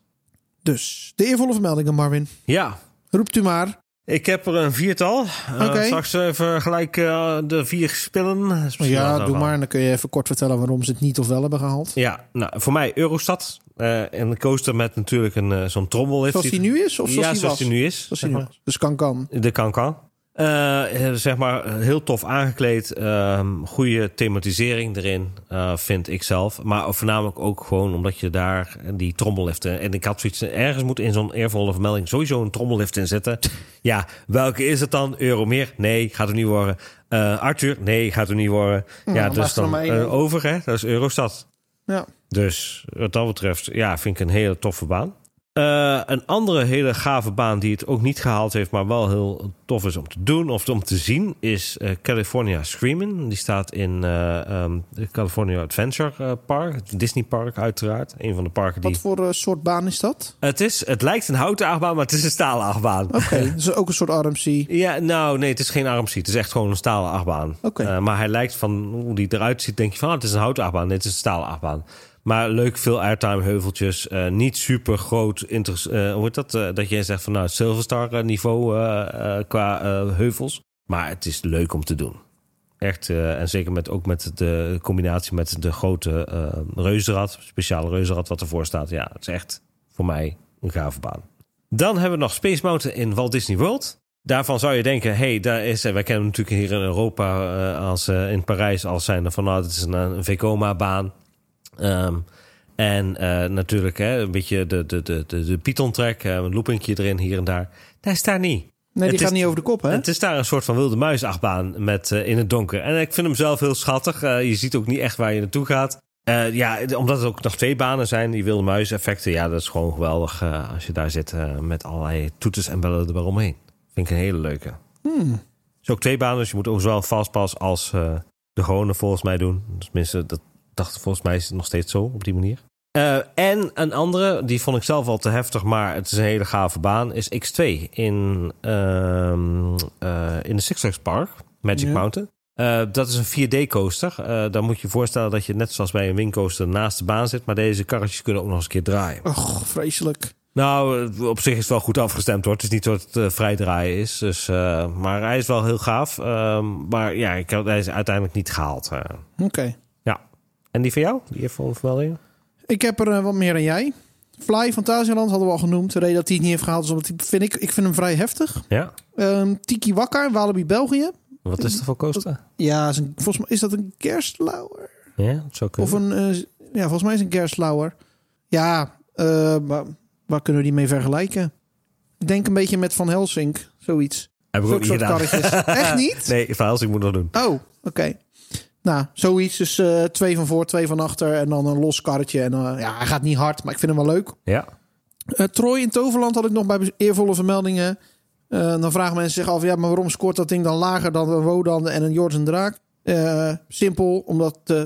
S1: Dus de eervolle vermeldingen, Marvin.
S2: Ja.
S1: Roept u maar.
S2: Ik heb er een viertal. Eh,
S1: Oké.
S2: Straks even gelijk eh, de vier spillen. Dat is misschien wel
S1: ja,
S2: zo
S1: doe
S2: wel.
S1: maar. En dan kun je even kort vertellen waarom ze het niet of wel hebben gehaald.
S2: Ja, nou, voor mij Eurostad. Eh, en een coaster met natuurlijk een, eh, zo'n trommel.
S1: Zoals die nu is of zoals
S2: ja,
S1: die
S2: zoals
S1: was?
S2: die nu is.
S1: Zoals
S2: zeg
S1: die nu
S2: maar.
S1: was. Dus kan kan.
S2: De Kankan. Eh, eh, zeg maar eh, heel tof aangekleed. ehm, goede thematisering erin, eh, vind ik zelf. Maar voornamelijk ook gewoon omdat je daar die trommellift... eh, En ik had zoiets, eh, ergens moet in zo'n eervolle vermelding sowieso een trommellift in zitten. Ja, welke is het dan? Euromeer? Nee, gaat er niet worden. Eh, Arthur? Nee, gaat er niet worden. ja,
S1: dan
S2: dus
S1: mag er
S2: dan
S1: maar één.
S2: eh, over, hè? Dat is Eurostad.
S1: Ja.
S2: Dus wat dat betreft, ja, vind ik een hele toffe baan. Eh, een andere hele gave baan die het ook niet gehaald heeft, maar wel heel tof is om te doen of om te zien, is eh, California Screamin'. Die staat in eh, ehm, de California Adventure eh, Park, het Disney Park uiteraard. Een van de parken die.
S1: Wat voor eh, soort baan is dat?
S2: Het, is, het lijkt een houten achtbaan, maar het is een stalen achtbaan.
S1: Oké,
S2: [laughs]
S1: dus ook een soort RMC.
S2: Ja, nou nee, het is geen RMC. Het is echt gewoon een stalen achtbaan.
S1: Oké.
S2: Eh, maar hij lijkt van hoe die eruit ziet, denk je van ah, het is een houten achtbaan. Nee, het is een stalen achtbaan. Maar leuk, veel airtime heuveltjes. eh, niet super groot. Inter- eh, hoe heet dat? eh, dat jij zegt van nou, Silver Star eh, niveau eh, eh, qua eh, heuvels. Maar het is leuk om te doen. Echt, eh, en zeker met, ook met de combinatie met de grote eh reuzenrad, speciale reuzenrad wat ervoor staat. Ja, het is echt voor mij een gave baan. Dan hebben we nog Space Mountain in Walt Disney World. Daarvan zou je denken, hey, daar is, eh, wij kennen hem natuurlijk hier in Europa eh, als, eh, in Parijs als zijn er van, nou, dit is een, een VCOMA-baan. Ehm, en eh, natuurlijk hè, een beetje de, de, de, de, de Python-track, eh, een loopingje erin hier en daar. Daar staat niet.
S1: Nee, die
S2: Het
S1: gaat
S2: is-
S1: niet over de kop, hè?
S2: Het is daar een soort van wilde muisachtbaan met eh, in het donker. En ik vind hem zelf heel schattig. Eh, je ziet ook niet echt waar je naartoe gaat. Eh, ja, omdat het ook nog twee banen zijn, die wilde muiseffecten. Ja, dat is gewoon geweldig eh, als je daar zit eh, met allerlei toeters en bellen er maar omheen. Vind ik een hele leuke. Het is ook twee banen, dus je moet ook zowel vastpas als eh, de gewone volgens mij doen. Tenminste, dat dacht volgens mij is het nog steeds zo op die manier. Eh, en een andere, die vond ik zelf al te heftig, maar het is een hele gave baan, is X2 in, ehm, eh, in de Six Flags Park, Magic
S1: Ja.
S2: Mountain. Eh, dat is een 4D-coaster. Eh dan moet je je voorstellen dat je net zoals bij een wingcoaster naast de baan zit, maar deze karretjes kunnen ook nog eens een keer draaien.
S1: Och, vreselijk.
S2: Nou, eh, op zich is het wel goed afgestemd hoor. Het is niet dat het eh, vrijdraaien is. Dus, eh, maar hij is wel heel gaaf. Ehm, maar ja, ik, had- hij is uiteindelijk niet gehaald. eh.
S1: Oké.
S2: ja. En die van jou? Die heeft voor een vermelding?
S1: Ik heb er eh, wat meer dan jij. Fly Fantasieland hadden we al genoemd. De reden dat hij het niet heeft gehaald is omdat hij, vind ik, ik vind hem vrij heftig.
S2: Ja.
S1: Ehm, Tiki Wakka, Walibi België.
S2: Wat is dat voor coaster?
S1: Ja, is een- volgens mij is dat een kerstlauwer.
S2: Ja, dat zou
S1: Of
S2: kunnen.
S1: een, eh, ja, volgens mij is een kerstlauwer. Ja, eh, waar, waar kunnen we die mee vergelijken? Ik denk een beetje met Van Helsink, zoiets.
S2: Heb ik ook
S1: Zulke
S2: niet
S1: soort
S2: gedaan.
S1: karretjes.
S2: [laughs]
S1: Echt niet?
S2: Nee, verhaal ik moet nog doen.
S1: Oh, oké. Nou, zoiets. Dus eh, twee van voor, twee van achter en dan een los karretje. En, eh, ja, hij gaat niet hard, maar ik vind hem wel leuk.
S2: Ja.
S1: Eh, Troy in Toverland had ik nog bij eervolle vermeldingen. Eh, dan vragen mensen zich af, ja, maar waarom scoort dat ding dan lager dan een Wodan en een Jordan Draak? Eh, simpel, omdat eh,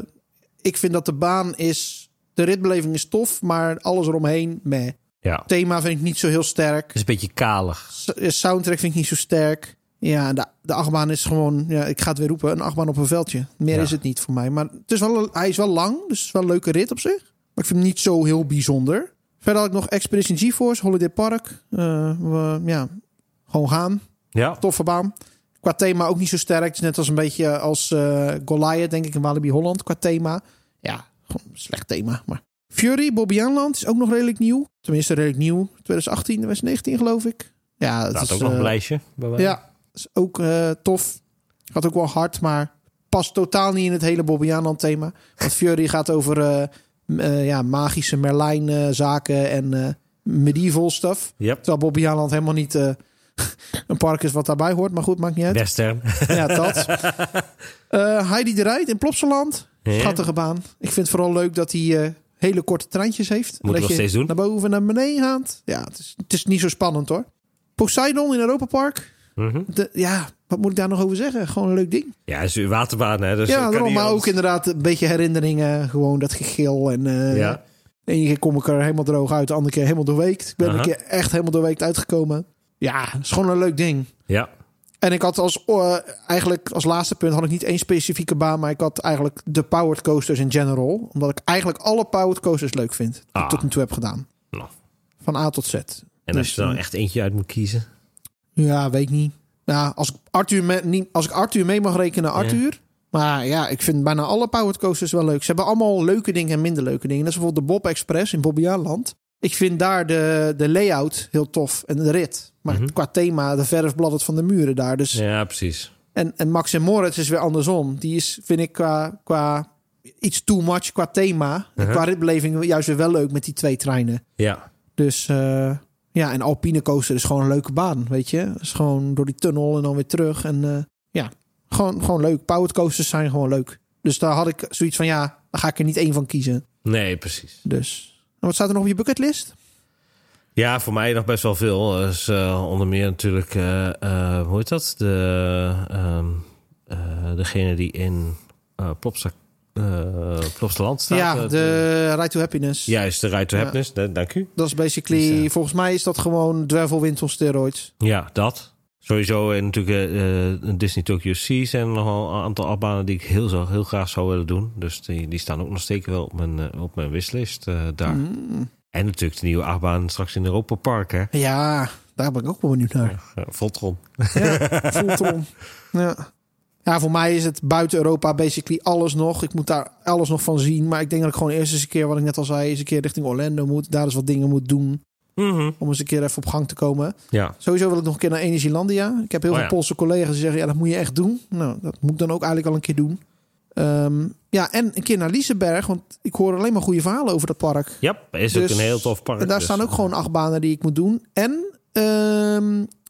S1: ik vind dat de baan is, de ritbeleving is tof, maar alles eromheen, meh.
S2: Ja. Het
S1: Thema vind ik niet zo heel sterk.
S2: is een beetje kalig.
S1: S- eh, soundtrack vind ik niet zo sterk. Ja, en de, de achtbaan is gewoon, ja, ik ga het weer roepen, een achtbaan op een veldje. Meer
S2: Ja.
S1: is het niet voor mij. Maar het is wel, hij is wel lang, dus het is wel een leuke rit op zich. Maar ik vind hem niet zo heel bijzonder. Verder had ik nog Expedition GeForce, Holiday Park. Eh, we- ja, gewoon gaan.
S2: Ja.
S1: Toffe baan. Qua thema ook niet zo sterk. Het is net als een beetje eh, als eh, Goliath, denk ik, in Walibi Holland. Qua thema. Ja, gewoon een slecht thema. Maar Fury, Bobby Aanland is ook nog redelijk nieuw. Tenminste, redelijk nieuw. 2018, 2019 geloof ik. Ja, dat
S2: Staat
S1: is
S2: ook nog
S1: eh,
S2: een lijstje. bij mij.
S1: ja, dat is ook eh, tof. Gaat ook wel hard, maar past totaal niet in het hele Bobbiaanland thema. Want Fury gaat over eh, m- eh, ja, magische Merlijn eh, zaken en eh, medieval stuff.
S2: Yep.
S1: Terwijl Bobbiaanland helemaal niet eh, [laughs] een park is wat daarbij hoort. Maar goed, maakt niet uit.
S2: Western.
S1: Ja,
S2: [laughs]
S1: dat. Eh, Heidi de Rijt in Plopsaland.
S2: Ja.
S1: Schattige baan. Ik vind het vooral leuk dat hij eh, hele korte treintjes heeft. En
S2: we
S1: dat
S2: nog
S1: je
S2: steeds doen.
S1: Naar boven en naar beneden gaat. Ja, het is, het is niet zo spannend hoor. Poseidon in Europa Park.
S2: Mhm.
S1: De- ja, wat moet ik daar nog over zeggen? Gewoon een leuk ding.
S2: Ja, is uw waterbaan, hè? Dus ik
S1: ja,
S2: kan
S1: daarom,
S2: niet
S1: maar
S2: anders.
S1: ook inderdaad een beetje herinneringen. Gewoon dat gegil. En eh
S2: Ja.
S1: de ene keer kom ik er helemaal droog uit, de andere keer helemaal doorweekt. Ik ben er
S2: Aha.
S1: een keer echt helemaal doorweekt uitgekomen. Ja, het is gewoon een leuk ding.
S2: Ja.
S1: En ik had als, eh, eigenlijk als laatste punt had ik niet één specifieke baan, maar ik had eigenlijk de powered coasters in general. Omdat ik eigenlijk alle powered coasters leuk vind die
S2: Ah.
S1: ik tot nu toe heb gedaan.
S2: Nou.
S1: Van A tot Z.
S2: En
S1: Dus,
S2: als je er dan echt eentje uit moet kiezen.
S1: Ja, weet ik niet. Ja, als, ik Arthur me- niet als ik Arthur mee mag rekenen, Arthur. Maar ja, ik vind bijna alle powered coasters wel leuk. Ze hebben allemaal leuke dingen en minder leuke dingen. Dat is bijvoorbeeld de Bob Express in Bobbejaanland. Ik vind daar de, de layout heel tof en de rit. Maar qua thema, de verf bladdert van de muren daar. Dus
S2: Ja, precies.
S1: En, en Max en Moritz is weer andersom. Die is, vind ik, qua, qua iets too much qua thema. En qua ritbeleving juist weer wel leuk met die twee treinen.
S2: Ja.
S1: Dus eh, ja, en Alpine Coaster is gewoon een leuke baan, weet je. Is gewoon door die tunnel en dan weer terug. En eh, ja, gewoon, gewoon leuk. Powered coasters zijn gewoon leuk. Dus daar had ik zoiets van, ja, daar ga ik er niet één van kiezen.
S2: Nee, precies.
S1: Dus. En wat staat er nog op je bucketlist?
S2: Ja, voor mij nog best wel veel. Dus, eh, onder meer natuurlijk, eh, eh, hoe heet dat? De, ehm, eh, degene die in eh Plopsa, eh, Plopsaland staat.
S1: ja,
S2: eh,
S1: de Ride to Happiness.
S2: Juist, de Right to
S1: Ja.
S2: Happiness. Da- Dank u.
S1: Dat is basically,
S2: Dus, eh,
S1: volgens mij is dat gewoon dwervelwind op steroids.
S2: Ja, dat. Sowieso en natuurlijk eh, eh, Disney Tokyo Sea zijn nogal een aantal afbanen die ik heel, zo- heel graag zou willen doen. Dus die, die staan ook nog steeds wel op mijn, eh, op mijn wishlist eh, daar.
S1: Mm.
S2: En natuurlijk de nieuwe achtbaan straks in Europa Park, hè?
S1: Ja, daar ben ik ook wel benieuwd naar.
S2: Eh, Voltron.
S1: Ja, Voltron. Ja. ja, voor mij is het buiten Europa basically alles nog. Ik moet daar alles nog van zien. Maar ik denk dat ik gewoon eerst eens een keer, wat ik net al zei, eens een keer richting Orlando moet. Daar eens wat dingen moet doen.
S2: Mhm.
S1: Om eens een keer even op gang te komen.
S2: Ja.
S1: Sowieso wil ik nog een keer naar Energielandia. Ik heb heel
S2: Oh
S1: veel
S2: ja.
S1: Poolse collega's die zeggen, ja, dat moet je echt doen. Nou, dat moet ik dan ook eigenlijk al een keer doen. Ehm, ja, en een keer naar Liesenberg. Want ik hoor alleen maar goede verhalen over dat park.
S2: Ja, is
S1: Dus-
S2: ook een heel tof park.
S1: En daar
S2: dus.
S1: staan ook gewoon acht banen die ik moet doen. En ehm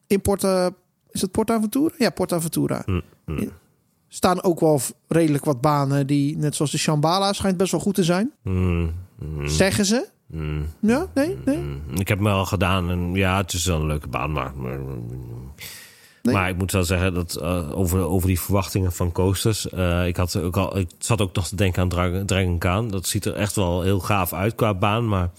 S1: in Porta... Is dat Porta Ventura? Ja, Porta Ventura.
S2: Mm, mm.
S1: In- Staan ook wel v- redelijk wat banen die, net zoals de Shambhala, schijnt best wel goed te zijn.
S2: Mm, mm,
S1: Zeggen ze?
S2: mm,
S1: Ja, nee, nee.
S2: mm. Ik heb hem al gedaan en ja, het is wel een leuke baan, maar... maar- Maar ik moet wel zeggen dat eh, over, over die verwachtingen van coasters. eh, ik, had ook al, ik zat ook nog te denken aan Dragon, Dragon Khan. Dat ziet er echt wel heel gaaf uit qua baan. Maar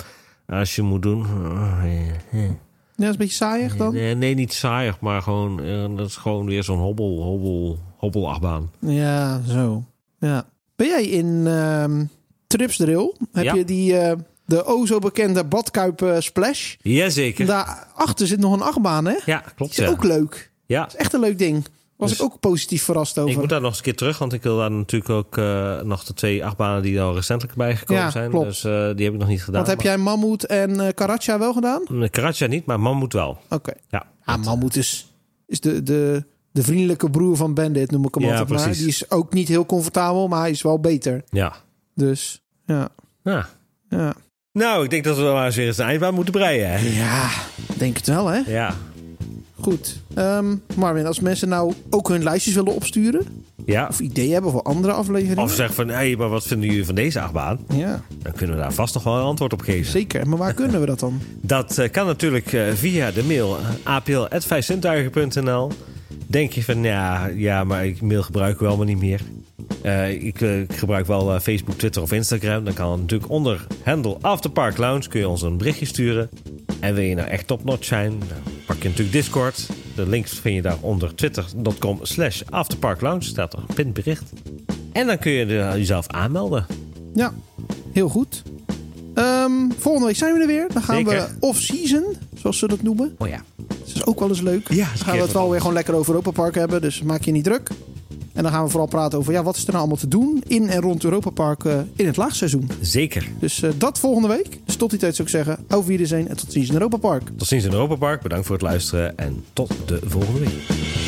S2: als je moet doen. eh, eh, eh.
S1: Ja, dat is een beetje saaiig dan.
S2: nee, nee, niet saaiig, maar gewoon. eh, dat is gewoon weer zo'n hobbel, hobbel, hobbelachtbaan.
S1: Ja, zo. Ja. Ben jij in ehm Trips Drill? Heb
S2: Ja.
S1: je die, eh, de o zo bekende badkuip eh, splash?
S2: Jazeker.
S1: Daarachter zit nog een achtbaan, hè?
S2: ja, klopt.
S1: Is
S2: Ja.
S1: ook leuk.
S2: ja.
S1: Is echt een leuk ding. Was
S2: Dus-
S1: ik ook positief verrast over.
S2: Ik moet daar nog eens een keer terug, want ik wil daar natuurlijk ook eh, nog de twee achtbanen die er al recentelijk bijgekomen
S1: Ja,
S2: zijn.
S1: klopt.
S2: Dus eh, die heb ik nog niet gedaan.
S1: Want heb jij Mammoet en eh, Karacha wel gedaan?
S2: jij... Karacha niet, maar man moet wel.
S1: Oké.
S2: Ja,
S1: Ah, Mammoet is, is de, de, de vriendelijke broer van Bandit, noem ik hem
S2: Ja,
S1: altijd maar.
S2: precies.
S1: Die is ook niet heel comfortabel, maar hij is wel beter.
S2: ja.
S1: Dus ja,
S2: ja.
S1: ja.
S2: Nou, ik denk dat we maar eens weer eens een eindbaan moeten breien. Hè?
S1: ja denk het wel, hè?
S2: Ja.
S1: Goed. Ehm, Marvin, als mensen nou ook hun lijstjes willen opsturen...
S2: ja.
S1: of ideeën hebben voor andere afleveringen...
S2: Of zeg van, hé, maar wat vinden jullie van deze achtbaan?
S1: Ja,
S2: Dan kunnen we daar vast nog wel een antwoord op geven.
S1: zeker. Maar waar kunnen we dat dan?
S2: Dat eh, kan natuurlijk eh, via de mail apl.vijfzintuigen.nl Denk je van, ja, ja, maar ik mail gebruik ik wel maar niet meer. Eh, ik, eh, ik gebruik wel eh, Facebook, Twitter of Instagram. Dan kan het natuurlijk onder handle Afterpark Lounge kun je ons een berichtje sturen. En wil je nou echt topnotch zijn, dan pak je natuurlijk Discord. De links vind je daar onder twitter.com slash afterparklounge. Staat er een pindbericht. En dan kun je er jezelf aanmelden.
S1: Ja, heel goed. Ehm, volgende week zijn we er weer. Dan gaan
S2: Zeker.
S1: we off-season, zoals ze dat noemen.
S2: Oh ja.
S1: Dat is ook wel eens leuk.
S2: Ja,
S1: dan
S2: dat
S1: gaan we
S2: is
S1: het wel weer gewoon lekker over Europa Park hebben. Dus maak je niet druk. En dan gaan we vooral praten over ja, wat is er nou allemaal te doen in en rond Europa Park eh, in het laagseizoen.
S2: Zeker.
S1: Dus eh, dat volgende week. Dus tot die tijd zou ik zeggen, auf Wiedersehen en tot ziens in Europa Park.
S2: Tot ziens in Europa Park. Bedankt voor het luisteren en tot de volgende week.